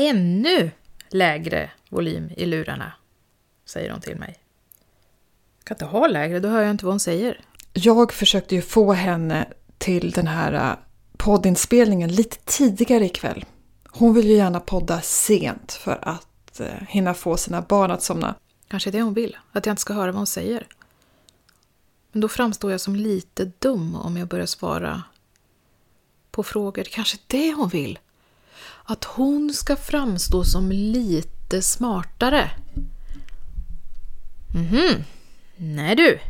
ännu lägre volym i lurarna, säger hon till mig. Jag kan inte ha lägre, då hör jag inte vad hon säger. Jag försökte ju få henne till den här eh, poddinspelningen lite tidigare ikväll. Hon vill ju gärna podda sent för att eh, hinna få sina barn att somna. Kanske är det hon vill, att jag inte ska höra vad hon säger. Men då framstår jag som lite dum om jag börjar svara på frågor. Det kanske är det hon vill? Att hon ska framstå som lite smartare. Mhm, nej du.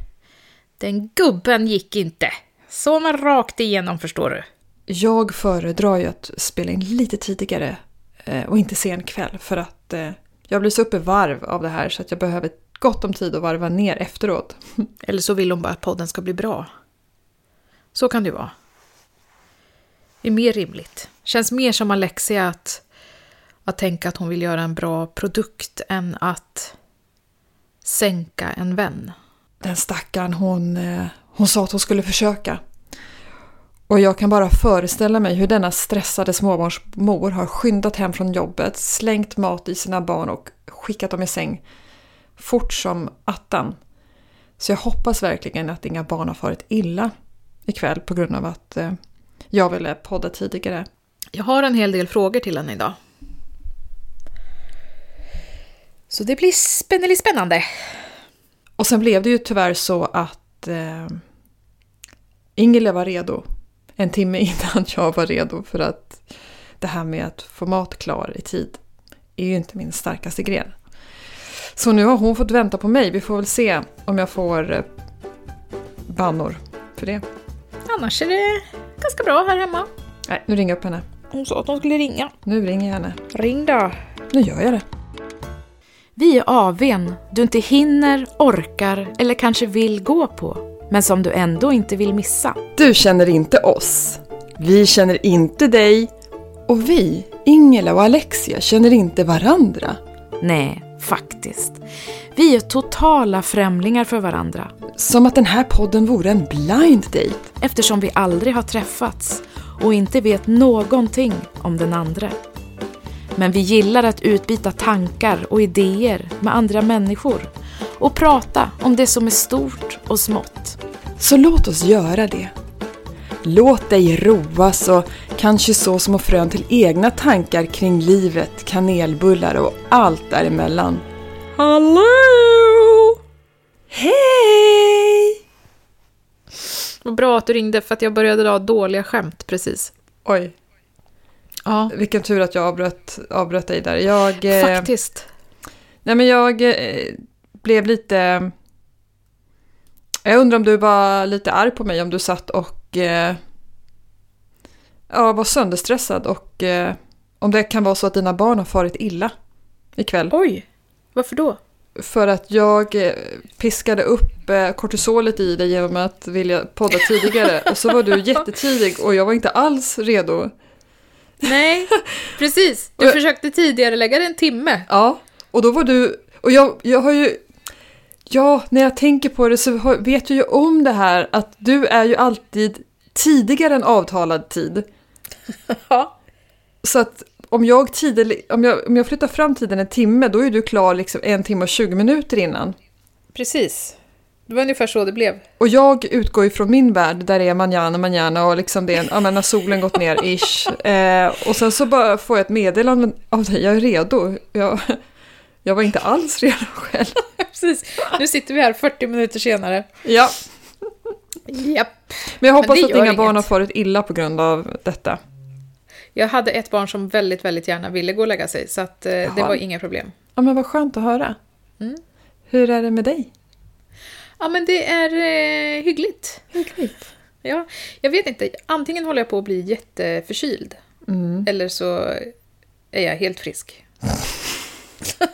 Den gubben gick inte. Så man rakt igenom förstår du. Jag föredrar ju att spela in lite tidigare eh, och inte sen kväll för att eh, jag blir så uppe i varv av det här så att jag behöver gott om tid att varva ner efteråt. Eller så vill hon bara att podden ska bli bra. Så kan det ju vara. Det är mer rimligt. Känns mer som Alexia att, att tänka att hon vill göra en bra produkt än att sänka en vän. Den stackaren hon, eh, hon sa att hon skulle försöka. Och jag kan bara föreställa mig hur denna stressade småbarnsmor har skyndat hem från jobbet, slängt mat i sina barn och skickat dem i säng. Fort som attan. Så jag hoppas verkligen att inga barn har farit illa ikväll på grund av att eh, jag ville podda tidigare. Jag har en hel del frågor till henne idag. Så det blir spännande, spännande. Och sen blev det ju tyvärr så att eh, Ingela var redo en timme innan jag var redo för att det här med att få mat klar i tid är ju inte min starkaste gren. Så nu har hon fått vänta på mig. Vi får väl se om jag får eh, bannor för det. Annars är det ganska bra här hemma. Nej, nu ringer jag upp henne. Hon sa att hon skulle ringa. Nu ringer jag henne. Ring då. Nu gör jag det. Vi är AWn du inte hinner, orkar eller kanske vill gå på, men som du ändå inte vill missa. Du känner inte oss. Vi känner inte dig. Och vi, Ingela och Alexia, känner inte varandra. Nej, faktiskt. Vi är totala främlingar för varandra, Som att den här podden vore en blind date. eftersom vi aldrig har träffats och inte vet någonting om den andra. Men vi gillar att utbyta tankar och idéer med andra människor och prata om det som är stort och smått. Så låt oss göra det. Låt dig roas och kanske så små frön till egna tankar kring livet, kanelbullar och allt däremellan. Hallå! Hej! Vad bra att du ringde för att jag började dra dåliga skämt precis. Oj, Ja, vilken tur att jag avbröt, avbröt dig där. Jag, eh, faktiskt. nej men jag eh, blev lite... Jag undrar om du var lite arg på mig om du satt och eh, ja, var sönderstressad och eh, om det kan vara så att dina barn har farit illa ikväll. Oj, varför då? För att jag eh, piskade upp eh, kortisolet i dig genom att vilja podda tidigare. Och så var du jättetidig och jag var inte alls redo. Nej, precis. Du Och- försökte tidigare lägga det en timme. Ja, och då var du... Och jag, jag har ju... Ja, när jag tänker på det så har, vet jag ju om det här att du är ju alltid tidigare än avtalad tid. Ja. Så att om jag, tidig, om jag, om jag flyttar fram tiden en timme då är du klar liksom en timme och 20 minuter innan. Precis. Det var ungefär så det blev. Och jag utgår ju från min värld, där det är manjana, manjana och liksom det är en, ja men när solen gått ner, ish. Eh, och sen så bara får jag ett meddelande av dig, jag är redo. Jag, jag var inte alls redo själv. Precis. Nu sitter vi här 40 minuter senare. Ja, Japp. men jag hoppas det att gör inga barn har inget. farit illa på grund av detta. Jag hade ett barn som väldigt, väldigt gärna ville gå och lägga sig, så att, eh, det Jaha. var inga problem. Ja men vad skönt att höra. Mm. Hur är det med dig? Ja, men det är eh, hyggligt. Hyggligt. Ja, jag vet inte. Antingen håller jag på att bli jätteförkyld, Mm. eller så är jag helt frisk.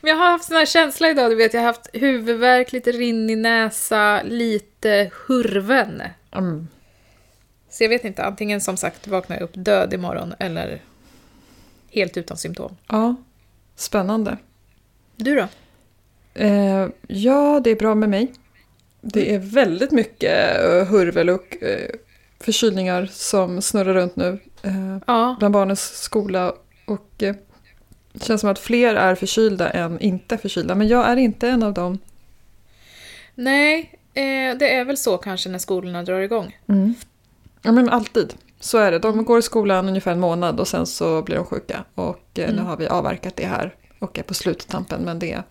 men jag har haft sån här känsla idag, du vet. Jag har haft huvudvärk, lite rinnig näsa, lite hurven. Mm. Så jag vet inte, antingen som sagt vaknar jag upp död imorgon, eller helt utan symptom. Ja, spännande. Du då? Eh, ja, det är bra med mig. Mm. Det är väldigt mycket eh, hurvel och eh, förkylningar som snurrar runt nu. Eh, Ja, bland barnens skola Och eh, det känns som att fler är förkylda än inte förkylda. Men jag är inte en av dem. Nej, eh, det är väl så kanske när skolorna drar igång. Mm. Ja men alltid. Så är det. De går i skolan ungefär en månad och sen så blir de sjuka. Och eh, nu har vi avverkat det här och är på sluttampen. Men det är...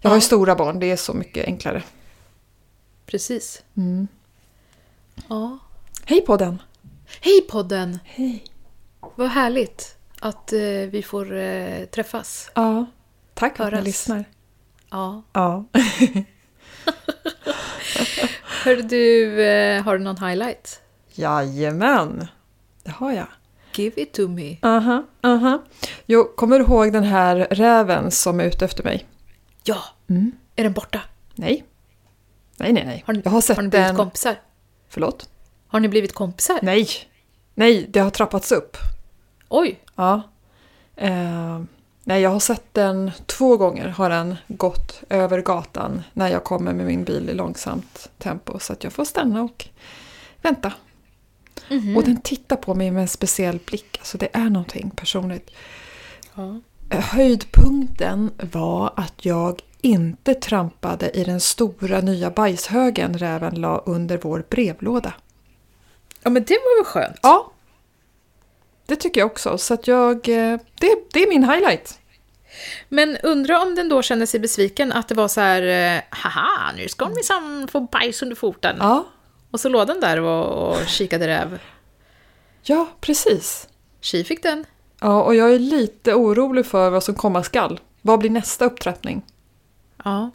Jag har ju stora barn, det är så mycket enklare. Precis. Mm. Ja. Hej på den! Hej podden! Hej! Vad härligt att eh, vi får eh, träffas. Ja. Tack för att ni Höras. lyssnar. Ja. Ja. Hör du, eh, har du någon highlight? Jajamän! Det har jag. Give it to me. Aha, aha. Jo, kommer du ihåg den här räven som är ute efter mig? Ja! Mm. Är den borta? Nej. Nej, nej, nej. Har ni, jag har sett har ni blivit den... kompisar? Förlåt? Har ni blivit kompisar? Nej. Nej, det har trappats upp. Oj! Ja. Eh, nej, jag har sett den två gånger. Har den gått över gatan när jag kommer med min bil i långsamt tempo. Så att jag får stanna och vänta. Och den tittar på mig med en speciell blick. Alltså det är någonting personligt. Eh, Ja. Höjdpunkten var att jag inte trampade i den stora nya bajshögen räven la under vår brevlåda. ja, men det var väl skönt? Ja, det tycker jag också. Så att jag, eh, det, det är min highlight. Men undra om den då känner sig besviken att det var så här, eh, haha, nu ska hon minsann få bajs under foten. Ja, Och så låg den där och, och kikade räv. ja precis. Tji fick den. Ja, och jag är lite orolig för vad som komma skall. Vad blir nästa upptrappning? Ja.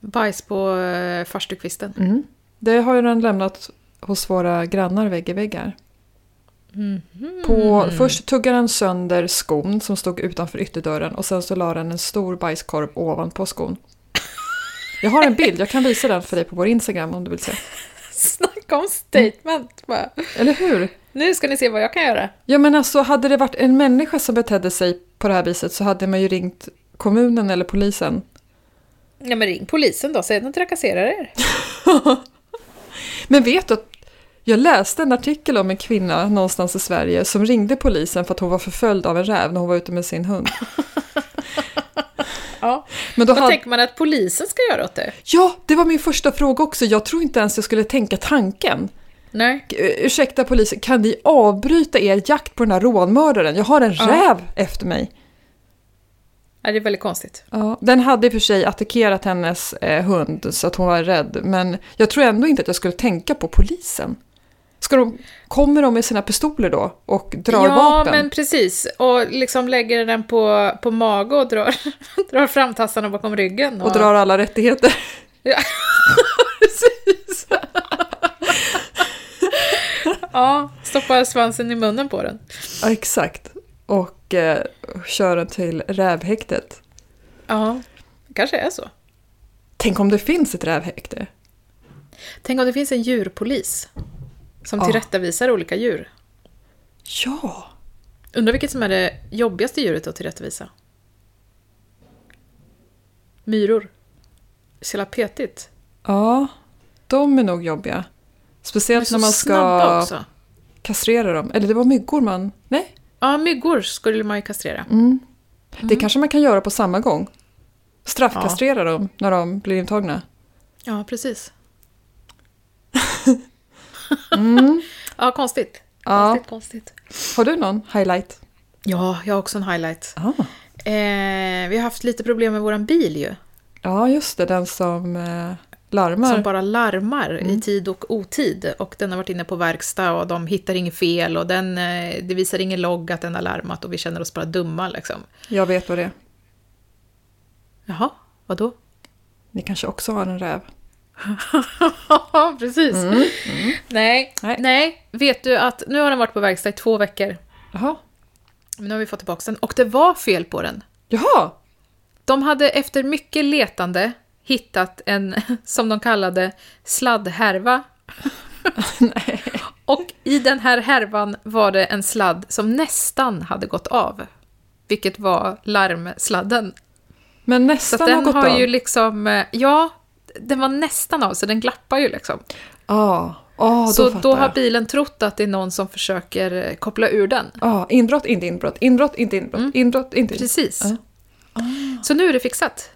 Bajs på eh, farstukvisten. Det har ju den lämnat hos våra grannar vägg i väggar. På, först tuggade den sönder skon som stod utanför ytterdörren och sen så la den en stor bajskorv ovanpå skon. Jag har en bild, jag kan visa den för dig på vår Instagram om du vill se. Snacka om statement bara. Eller hur? Nu ska ni se vad jag kan göra. Ja men alltså hade det varit en människa som betedde sig på det här viset så hade man ju ringt kommunen eller polisen. Ja men ring polisen då, säg att de trakasserar er. Men vet du att jag läste en artikel om en kvinna någonstans i Sverige som ringde polisen för att hon var förföljd av en räv när hon var ute med sin hund. Ja. Men då Vad hade... tänker man att polisen ska göra åt det? Ja, det var min första fråga också. Jag tror inte ens jag skulle tänka tanken. Nej. K- Ursäkta polisen, kan ni avbryta er jakt på den här rånmördaren? Jag har en Ja. räv efter mig. Ja, det är väldigt konstigt. Ja, den hade i och för sig attackerat hennes eh, hund så att hon var rädd. Men jag tror ändå inte att jag skulle tänka på polisen. Ska de, kommer de med sina pistoler då och drar ja, vapen? men precis. Och liksom lägger den på, på mage och drar, drar framtassarna bakom ryggen. Och drar alla rättigheter. Ja. Precis. Ja, stoppar svansen i munnen på den. Ja, exakt. Och eh, kör den till rävhäktet. Ja, det kanske är så. Tänk om det finns ett rävhäkte? Tänk om det finns en djurpolis som Ja. tillrättavisar olika djur. Ja! Undrar vilket som är det jobbigaste djuret att tillrättavisa? Myror. Så jävla petigt. Ja, de är nog jobbiga. De är Speciellt så när man snabba ska också. kastrera dem. Eller det var myggor man... Nej, Ja, myggor skulle man ju kastrera. Mm. Det kanske man kan göra på samma gång. Straffkastrera dem när de blir intagna. Ja, precis. Mm. ja, konstigt. Ja. Konstigt, konstigt. Har du någon highlight? Ja, jag har också en highlight. Ah. Eh, vi har haft lite problem med våran bil ju. Ja, just det. Den som eh, larmar. Som bara larmar i tid och otid. Och den har varit inne på verkstad och de hittar inget fel och den, eh, det visar ingen logg att den har larmat och vi känner oss bara dumma liksom. Jag vet vad det är. Jaha, vadå? Ni kanske också har en räv? Ja, precis. Nej, Mm, Nej. nej. vet du att nu har den varit på verkstad i två veckor. Jaha. Men nu har vi fått tillbaka den och det var fel på den. Jaha! De hade efter mycket letande hittat en, som de kallade, sladdhärva. och i den här härvan var det en sladd som nästan hade gått av. Vilket var larmsladden. Men Så att nästan har den gått har av. ju liksom, eh, ja, den var nästan av så den glappar ju liksom. Ja, Ja, då så fattar då har jag. bilen trott att det är någon som försöker eh, koppla ur den. Ja, inbrott, inte inbrott, inbrott, inte inbrott, inbrott, inte inbrott. Mm. Precis. Ja. Så nu är det fixat.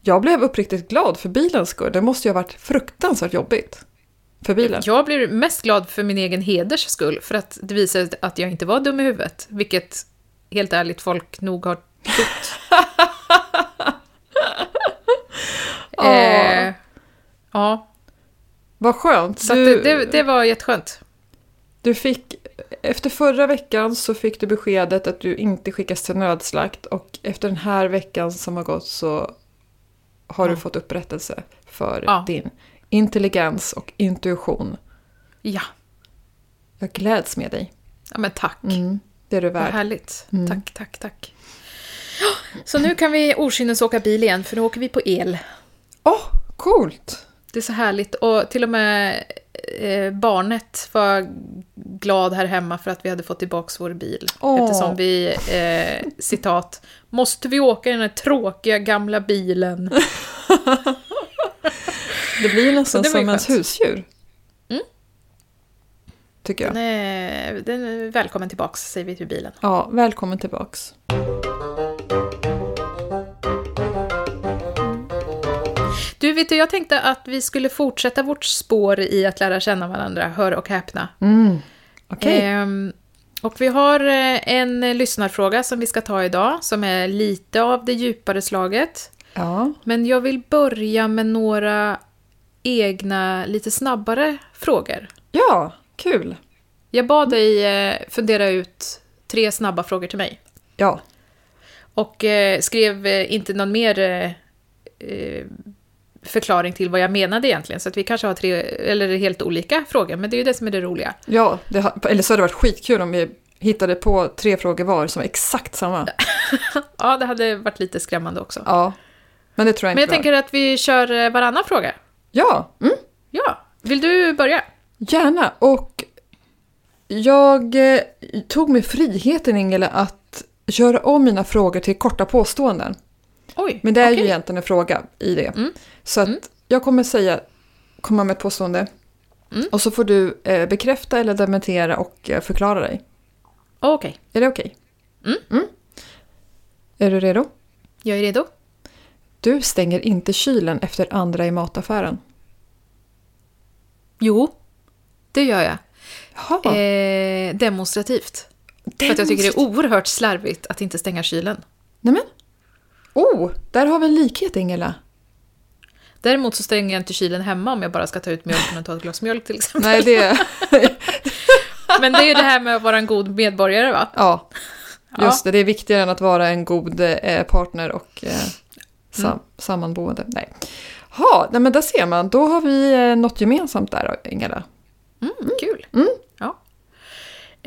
Jag blev uppriktigt glad för bilens skull. Det måste ju ha varit fruktansvärt jobbigt. För bilen. Jag blir mest glad för min egen heders skull, för att det visar att jag inte var dum i huvudet, vilket helt ärligt folk nog har trott. eh, ja, Vad skönt. så att Du, det, det, det var jätteskönt. du fick, efter förra veckan så fick du beskedet att du inte skickas till nödslakt och efter den här veckan som har gått så har du fått upprättelse för Ja. din intelligens och intuition. Ja, Jag gläds med dig. ja men tack. Mm, Det är du Vad värd. härligt. Tack, tack, tack. Ja, Så nu kan vi åka bil igen, för nu åker vi på el. Åh, coolt! Det är så härligt. Och till och med eh, barnet var glad här hemma för att vi hade fått tillbaka vår bil. Åh. Eftersom vi, eh, citat, måste vi åka i den här tråkiga gamla bilen? Det blir ju nästan det var ju som ens skönt. Mm. husdjur. Tycker jag. Den är, den är välkommen tillbaks, säger vi till bilen. Ja, välkommen tillbaks. Du, vet du, jag tänkte att vi skulle fortsätta vårt spår i att lära känna varandra, hör och häpna. Mm. Okej. Ehm, och vi har eh, en lyssnarfråga som vi ska ta idag, som är lite av det djupare slaget. Ja. Men jag vill börja med några egna, lite snabbare frågor. ja, kul. Jag bad dig eh, fundera ut tre snabba frågor till mig. Ja, Och eh, skrev eh, inte någon mer eh, eh, förklaring till vad jag menade egentligen. Så att vi kanske har tre, eller helt olika frågor, men det är ju det som är det roliga. ja det, ha- eller så hade det varit skitkul om vi hittade på tre frågor var som är exakt samma. Ja, det hade varit lite skrämmande också. Ja, men det tror jag Men jag inte var. tänker att vi kör eh, varannan fråga. Ja, mm, Ja, vill du börja? gärna. Och jag eh, tog mig friheten, Ingela, att göra om mina frågor till korta påståenden. Oj, Men det är ju okej. egentligen en fråga i det. Så att jag kommer säga, komma med ett påstående. Och så får du eh, bekräfta eller dementera och eh, förklara dig. Okej, Är det okej? Mm. Är du redo? jag är redo. Du stänger inte kylen efter andra i mataffären. Jo, det gör jag. Jaha, Eh, demonstrativt. För att jag tycker det är oerhört slarvigt att inte stänga kylen. Nej men. Oh, där har vi en likhet Ingela. Däremot så stänger jag inte kylen hemma om jag bara ska ta ut mjölken och ta ett glas mjölk till exempel. Nej, det... Men det är ju det här med att vara en god medborgare va? ja, just det. Det är viktigare än att vara en god eh, partner och eh, Mm. sam- sammanboende. Nej. Ha, nej men där ser man. Då har vi eh, något gemensamt där Ingela. Mm, kul. Ja.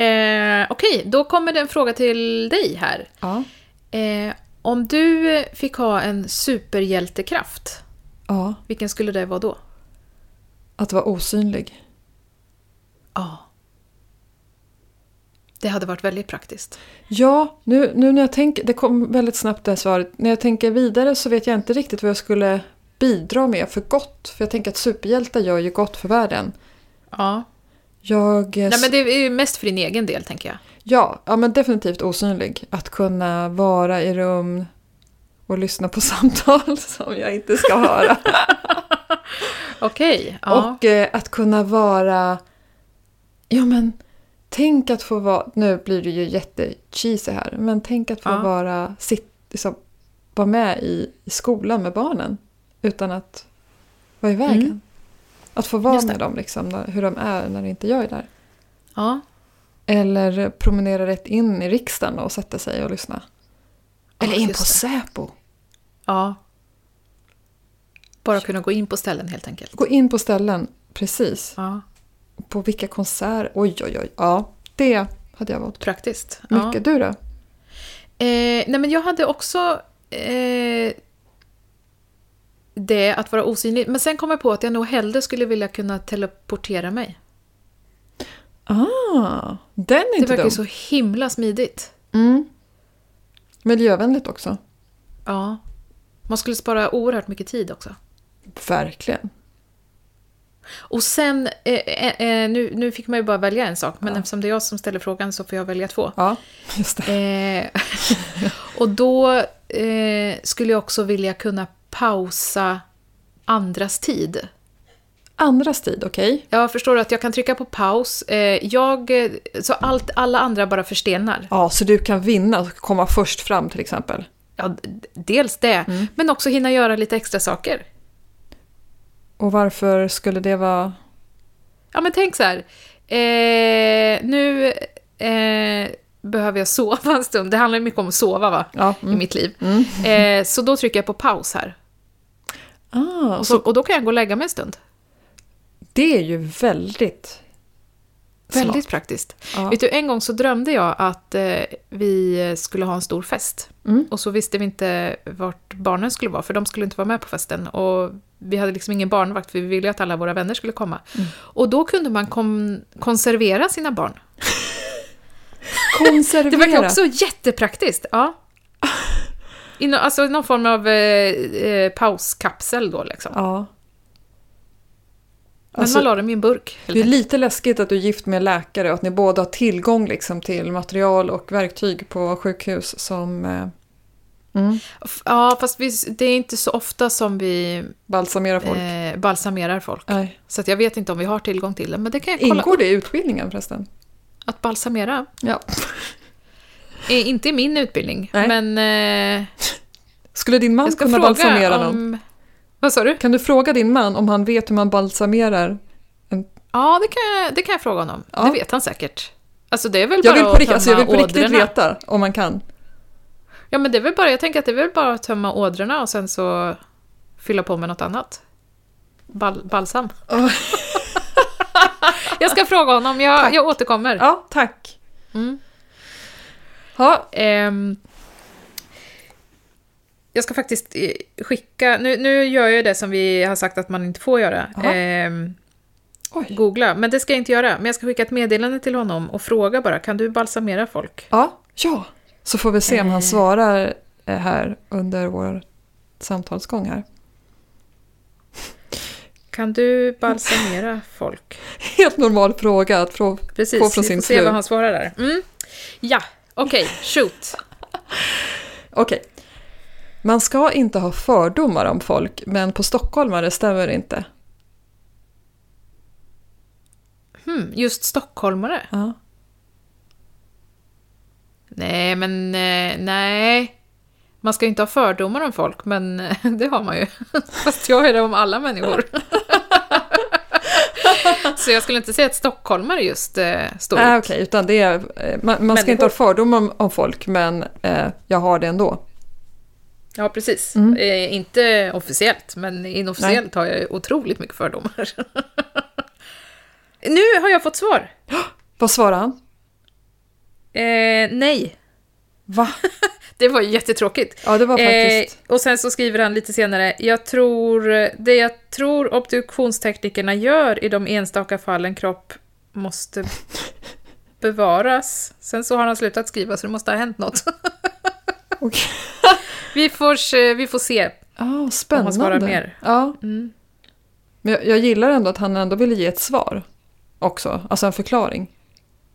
Eh, Okej, då kommer det en fråga till dig här. Ja. Eh, om du fick ha en superhjältekraft, Ja, vilken skulle det vara då? att vara osynlig. Ja. Det hade varit väldigt praktiskt. Ja, nu, nu när jag tänker, det kom väldigt snabbt det här svaret. När jag tänker vidare så vet jag inte riktigt vad jag skulle bidra med för gott. För jag tänker att superhjältar gör ju gott för världen. Ja. Jag... eh, Nej, men det är ju mest för din egen del, tänker jag. Ja, ja men definitivt osynlig. Att kunna vara i rum och lyssna på samtal som jag inte ska höra. Okej. Ja. Och eh, att kunna vara... Ja men, tänk att få vara... Nu blir det ju jättecheesy här, men tänk att få Ja. vara, sitt, liksom, vara med i, i skolan med barnen utan att vara i vägen. Att få vara Mm. Just det. med dem, liksom, när, hur de är när inte jag är där. ja. Eller promenera rätt in i riksdagen och sätta sig och lyssna. Eller Ja, in på just det. Säpo. Ja. Bara kunna gå in på ställen helt enkelt. Gå in på ställen, precis. Ja. På vilka konserter. Oj, oj, oj. Ja, det hade jag valt. Praktiskt. Ja. Mycket. Du då? Eh, nej, men jag hade också eh, det att vara osynlig. Men sen kom jag på att jag nog hellre skulle vilja kunna teleportera mig. Ah, den är Det inte verkar dum. ju så himla smidigt. Mm. Miljövänligt också. Ja. Man skulle spara oerhört mycket tid också. Verkligen. Och sen, eh, eh, eh, nu, nu fick man ju bara välja en sak, men eftersom det är jag som ställer frågan så får jag välja två. Ja, just det. Eh, och då eh, skulle jag också vilja kunna pausa andras tid. Andras tid, okej. Ja, förstår du att jag kan trycka på paus. Eh, jag, eh, så allt, alla andra bara förstenar. Ja, så du kan vinna och komma först fram till exempel. Ja, d- dels det, men också hinna göra lite extra saker. Och varför skulle det vara... Ja, men tänk så här. Eh, nu eh, behöver jag sova en stund. Det handlar ju mycket om att sova va? Ja, mm. i mitt liv. Eh, så då trycker jag på paus här. Ah, Och, så, och då kan jag gå och lägga mig en stund. det är ju väldigt... Smart. Väldigt praktiskt. Ja. Vet du, en gång så drömde jag att eh, vi skulle ha en stor fest. Mm. Och så visste vi inte vart barnen skulle vara, för de skulle inte vara med på festen. Och vi hade liksom ingen barnvakt, för vi ville ju att alla våra vänner skulle komma. Mm. Och då kunde man kon- konservera sina barn. Det Konservera! verkar också jättepraktiskt. Ja. Inom, alltså någon form av eh, eh, pauskapsel då liksom. Ja. Men Alltså, man la dem i en burk. helt det är lite läskigt att du är gift med en läkare och att ni båda har tillgång liksom, till material och verktyg på sjukhus som eh, Mm. F- Ja, fast vi, det är inte så ofta som vi balsamerar folk. eh, balsamerar folk. Nej. Så att jag vet inte om vi har tillgång till det, men det kan jag kolla. Ingår det i utbildningen förresten? Att balsamera. Ja. Eh, inte i min utbildning, Nej. men eh, Skulle din man jag ska kunna fråga balsamera om... någon? Vad sa du? Kan du fråga din man om han vet hur man balsamerar? Ja, det kan jag, det kan jag fråga honom. Ja. Det vet han säkert. Alltså det är väl Jag bara vill på, att rikt- tömma alltså, jag vill på riktigt ådrorna. veta om man kan. Ja, men det är väl bara, jag tänker att det är väl bara att tömma ådrorna och sen så fylla på med något annat. Bal, balsam. Ja. jag ska fråga honom, jag, jag återkommer. Ja, tack. Mm. Ja, Ehm, jag ska faktiskt eh, skicka... Nu, nu gör jag ju det som vi har sagt att man inte får göra. Jaha. Ehm, Oj. googla. Men det ska jag inte göra. Men jag ska skicka ett meddelande till honom och fråga bara, kan du balsamera folk? ja, ja. Så får vi se om han svarar eh, här under vår samtalsgång här. Kan du balsamera folk? Helt normal fråga att fråga. Precis, Få från vi sin får se fru. vad han svarar där. Mm. Ja, okej, shoot. Okej. Man ska inte ha fördomar om folk, men på stockholmare stämmer det inte. Hmm, just stockholmare? Ja. Nej, men eh, nej. Man ska ju inte ha fördomar om folk, men eh, det har man ju. Fast jag är det om alla människor. Så jag skulle inte säga att stockholmare just eh, står Nej, ut. Ah, okej, utan det är, eh, man, man ska Människor. inte ha fördomar om, om folk, men eh, jag har det ändå. Ja, precis. Mm. Eh, inte officiellt, men inofficiellt har jag ju otroligt mycket fördomar. nu har jag fått svar. Vad svarar han? Eh, nej. Va? Det var ju jättetråkigt. Ja, det var faktiskt... Eh, och sen så skriver han lite senare, jag tror, det jag tror obduktionsteknikerna gör i de enstaka fallen kropp måste bevaras. Sen så har han slutat skriva så det måste ha hänt något. Okej. Vi får, se- vi får se. Ah, spännande. svarar mer. Ja. Mm. Men jag, jag gillar ändå att han ändå ville ge ett svar också, alltså en förklaring.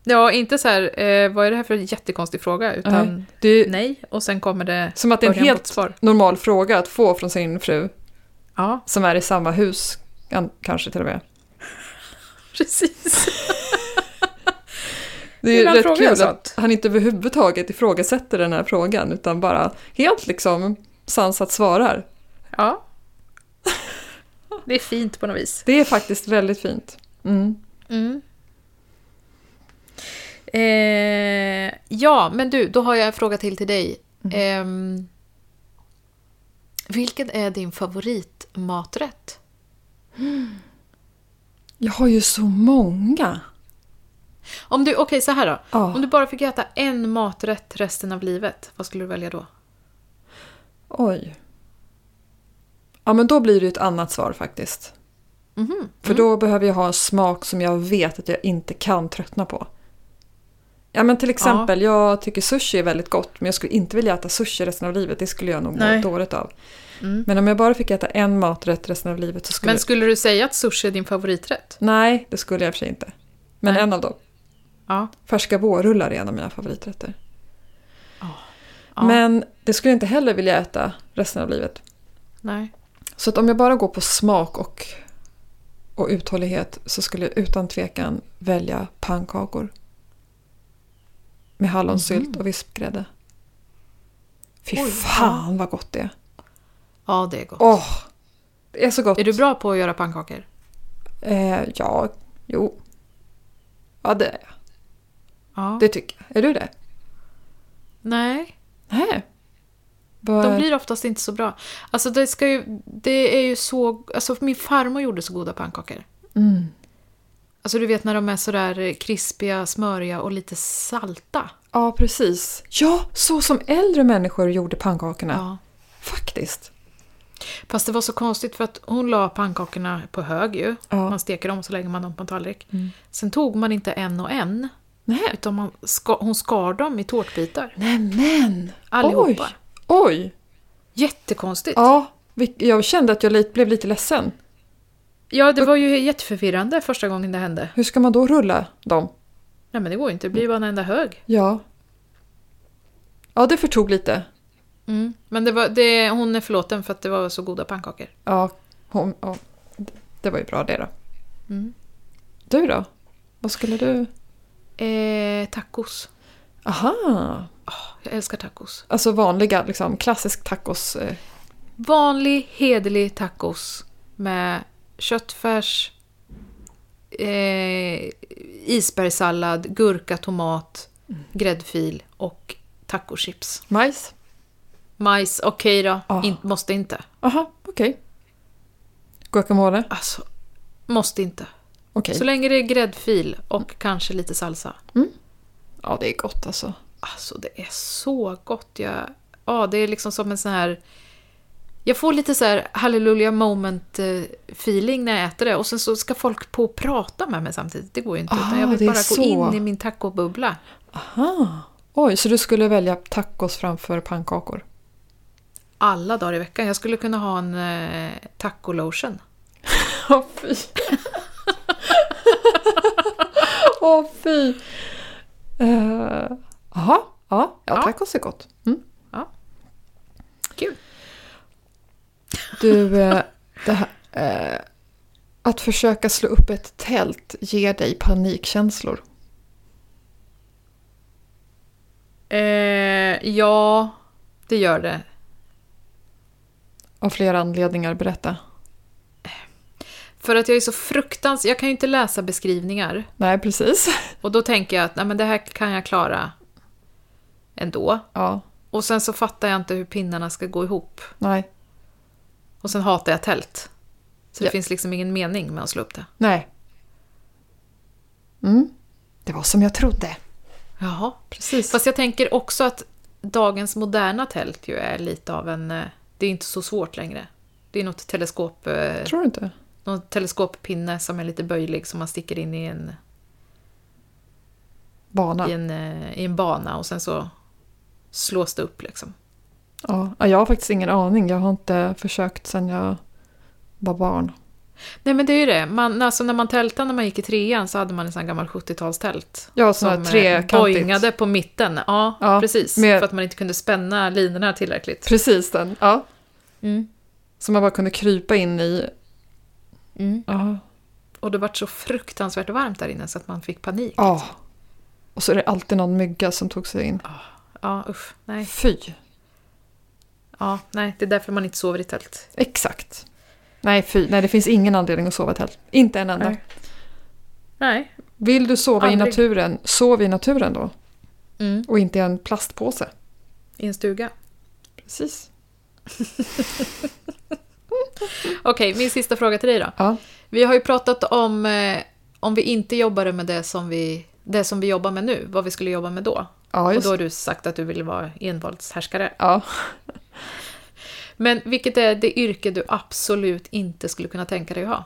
Ja, inte så här, eh, vad är det här för jättekonstig fråga, utan Nej. Det är ju nej, och sen kommer det som att det är en början på ett helt normal fråga att få från sin fru Ja, som är i samma hus, an- kanske till och med. precis. Det är ju Gillar han rätt frågan kul att sånt? han inte överhuvudtaget ifrågasätter den här frågan utan bara helt liksom sansat svarar. Ja. Det är fint på något vis. Det är faktiskt väldigt fint. Mm. Mm. Eh, ja, men du, då har jag en fråga till till dig. Mhm. Ehm, vilken är din favoritmaträtt? Jag har ju så många. Om du, okej så här då. Ja. Om du bara fick äta en maträtt resten av livet, vad skulle du välja då? Oj. Ja, men då blir det ju ett annat svar faktiskt. För Mm. då behöver jag ha en smak som jag vet att jag inte kan tröttna på. Ja, men till exempel, jag tycker sushi är väldigt gott, men jag skulle inte vilja äta sushi resten av livet. Det skulle jag nog Nej. må dåligt av. Men om jag bara fick äta en maträtt resten av livet så skulle... Mm. Men skulle du säga att sushi är din favoriträtt? Nej, det skulle jag i och för sig inte. Men Nej. en av dem. Ja. Färska vårrullar är en av mina favoriträtter. ja. Men det skulle jag inte heller vilja äta resten av livet. Nej. Så att om jag bara går på smak och, och uthållighet så skulle jag utan tvekan välja pannkakor. Med hallonsylt och vispgrädde. Fy Mhm. Oj, fan vad gott det är. Ja, det är gott. Åh! det är så gott. Är du bra på att göra pannkakor? Eh, ja, jo. Ja, det är jag. Ja. Det tycker jag. Är du det? Nej, Nej. de blir oftast inte så bra. Alltså det, ska ju, det är ju så... Alltså min farmor gjorde så goda pannkakor. Mm. Alltså du vet när de är sådär eh, krispiga, smöriga och lite salta. Ja, precis. Ja, så som äldre människor gjorde pannkakorna. Ja. Faktiskt. Fast det var så konstigt för att hon la pannkakorna på hög ju. Ja. Man steker dem och så lägger man dem på en tallrik. Sen tog man inte en och en. Nej. Utan man ska, hon skar dem i tårtbitar. Nej men! Allihopa. Oj! Oj! Jättekonstigt. Ja. Ja, vi- jag kände att jag li- blev lite ledsen. det var ju jätteförvirrande första gången det hände. Hur ska man då rulla dem? Nej men det går ju inte, det blir ju bara en enda hög. Ja. Ja, det förtog lite. Mm. Men det var, det, hon är förlåten för att det var så goda pannkakor. Ja, hon, ja. d- det var ju bra det då. Mm. Du då? Vad skulle du... Eh, tacos. Aha! Jag älskar tacos. Alltså vanliga, liksom klassisk tacos. eh, Vanlig hederlig tacos med köttfärs, eh, isbergssallad, gurka, tomat, gräddfil och tacochips. Majs? Majs, okej då. Ah. In, måste inte. Aha, okej. Guacamole? Alltså, måste inte. Okej. Så länge det är gräddfil och kanske lite salsa. Ja, det är gott alltså. Alltså det är så gott. Jag, ja, det är liksom som en sån här... Jag får lite så här hallelujah moment eh, feeling när jag äter det. Och sen så ska folk på och prata med mig samtidigt. Det går ju inte. utan Ah, jag det vill är bara så. gå in i min tacobubbla. Aha. Oj, så du skulle välja tacos framför pannkakor? Alla dagar i veckan. Jag skulle kunna ha en eh, taco-lotion. Åh fy! Åh fy! Eh, Jaha, ja, ja, Ja. tacos är gott. Mm. Kul. Du, eh, det här, eh, att försöka slå upp ett tält ger dig panikkänslor. Eh, ja, det gör det. Av flera anledningar, berätta. För att jag är så fruktansvärt... Jag kan ju inte läsa beskrivningar. Nej, precis. Och då tänker jag att nej, men det här kan jag klara ändå. Ja, Och sen så fattar jag inte hur pinnarna ska gå ihop. nej, Och sen hatar jag tält. Så det Ja. finns liksom ingen mening med att slå upp det. nej. Mm. Det var som jag trodde. Jaha. Precis. Fast jag tänker också att dagens moderna tält ju är lite av en... eh, Det är inte så svårt längre. Det är något teleskop, eh, Tror du inte? någon teleskoppinne som är lite böjlig som man sticker in i en, Bana. i en, eh, i en bana och sen så slås det upp liksom. Ja, ja, jag har faktiskt ingen aning. Jag har inte försökt sedan jag var barn. Nej men det är ju det. Man, alltså, när man tältade när man gick i trean så hade man en sån här gammal 70-talstält. Jag har sån här eh, trekantigt. bojngade på mitten. Ja, Alltså, Ja, precis. med- För att man inte kunde spänna linorna tillräckligt. Precis den, ja. Mm. Som man bara kunde krypa in i. Mm. Ja. Och det vart så fruktansvärt varmt där inne så att man fick panik. ja. Och så är det alltid någon mygga som tog sig in. Ja, usch. Nej. Fy! Ja, nej. Det är därför man inte sover i tält. Exakt. Nej, fy. Nej, det finns ingen anledning att sova i tält. Inte en enda. Nej. Nej. Vill du sova i Aldrig. naturen, sov i naturen då. Mm. Och inte i en plastpåse. I en stuga. Precis. Okej, min sista fråga till dig då. Ja. Vi har ju pratat om eh, om vi inte jobbade med det som vi, det som vi jobbar med nu, vad vi skulle jobba med då. Ja, Och just då har du sagt att du vill vara envåldshärskare. Ja. Men vilket är det yrke du absolut inte skulle kunna tänka dig att ha?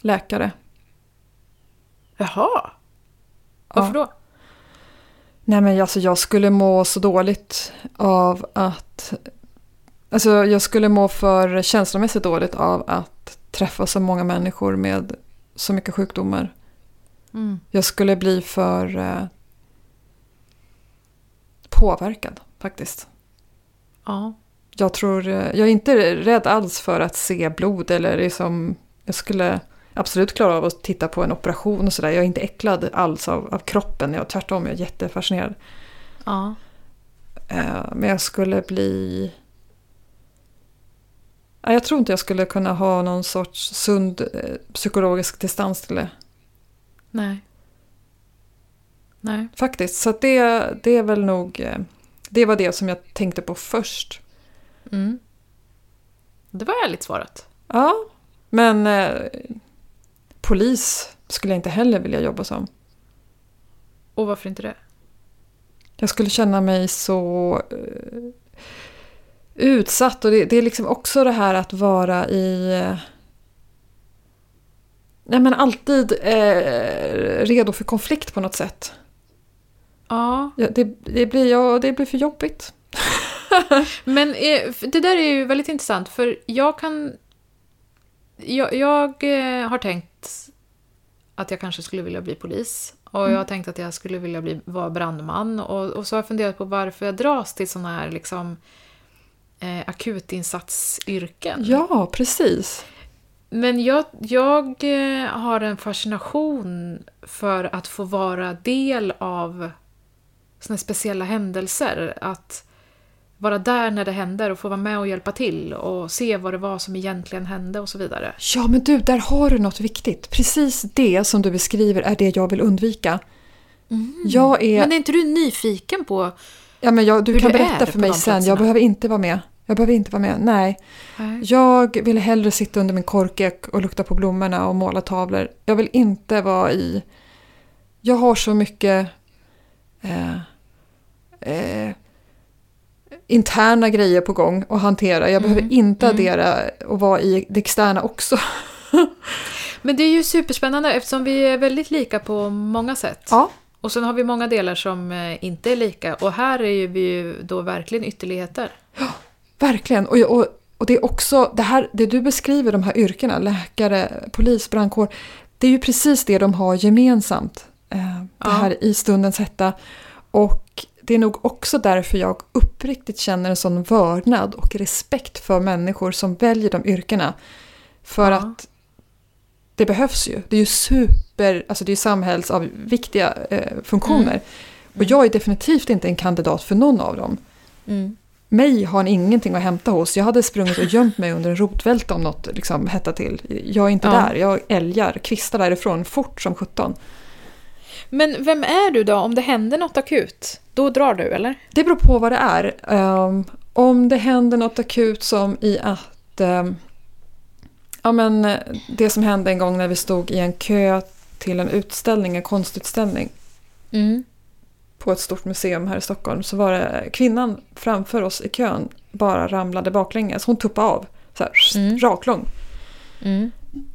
Läkare. Jaha. Varför då? Nej men alltså jag skulle må så dåligt av att Alltså jag skulle må för känslomässigt dåligt av att träffa så många människor med så mycket sjukdomar. Mm. Jag skulle bli för eh, påverkad faktiskt. Ja. Jag tror, eh, jag är inte rädd alls för att se blod eller liksom, jag skulle absolut klara av att titta på en operation och sådär. Jag är inte äcklad alls av, av kroppen, jag, tvärtom, jag är jättefascinerad. ja. Eh, men jag skulle bli... Nej, jag tror inte jag skulle kunna ha någon sorts sund eh, psykologisk distans till det. Nej. Nej. Faktiskt, så att det, det är väl nog... eh, Det var det som jag tänkte på först. Mm. Det var ärligt svarat. Ja, men eh, polis skulle jag inte heller vilja jobba som. Och varför inte det? Jag skulle känna mig så eh, utsatt och det, det är liksom också det här att vara i... eh, Nej men alltid eh, redo för konflikt på något sätt. Ja. Ja, det, det, blir, ja, det blir för jobbigt. Men eh, f- det där är ju väldigt intressant för jag kan... Jag, jag eh, har tänkt att jag kanske skulle vilja bli polis. Och jag har tänkt att jag skulle vilja bli, vara brandman. Och, och så har jag funderat på varför jag dras till sådana här liksom, eh, akutinsatsyrken. Ja, precis. Men jag, jag eh, har en fascination för att få vara del av såna speciella händelser. Att vara där när det händer och få vara med och hjälpa till och se vad det var som egentligen hände och så vidare. Ja, men du, där har du något viktigt. Precis det som du beskriver är det jag vill undvika. Jag är... Mm. Men är inte du nyfiken på... ja, men jag, du hur kan det är berätta på för mig de sen. platserna. Jag behöver inte vara med. Jag behöver inte vara med. Nej. Jag vill hellre sitta under min korkek och lukta på blommorna och måla tavlor. Jag vill inte vara i... Jag har så mycket eh, eh, interna grejer på gång att hantera. Jag behöver inte addera och vara i det externa också. Men det är ju superspännande eftersom vi är väldigt lika på många sätt. Ja, Och sen har vi många delar som eh, inte är lika. Och här är ju vi ju då verkligen ytterligheter. verkligen. Och, och, och det är också det här, det du beskriver, de här yrkena, läkare, polis, brandkår. Det är ju precis det de har gemensamt. eh, Det Ja. här i stundens hetta. Och det är nog också därför jag uppriktigt känner en sån vördnad och respekt för människor som väljer de yrkena. För Ja. att det behövs ju. Det är ju super, alltså det är ju samhällsviktiga eh, funktioner. Mm. Och jag är definitivt inte en kandidat för någon av dem. Mm. Mig har han ingenting att hämta hos. Jag hade sprungit och gömt mig under en rotvälta om något liksom, hetta till. Jag är inte Ja. där. Jag älgar, kvistar därifrån fort som sjutton. Men vem är du då om det händer något akut? Då drar du eller? Det beror på vad det är. Ehm, om det händer något akut som i att... ehm, ja, men, eh, det som hände en gång när vi stod i en kö till en utställning, en konstutställning Mm, på ett stort museum här i Stockholm så var det kvinnan framför oss i kön bara ramlade baklänges. Hon tuppade av, så här, Mm. raklång.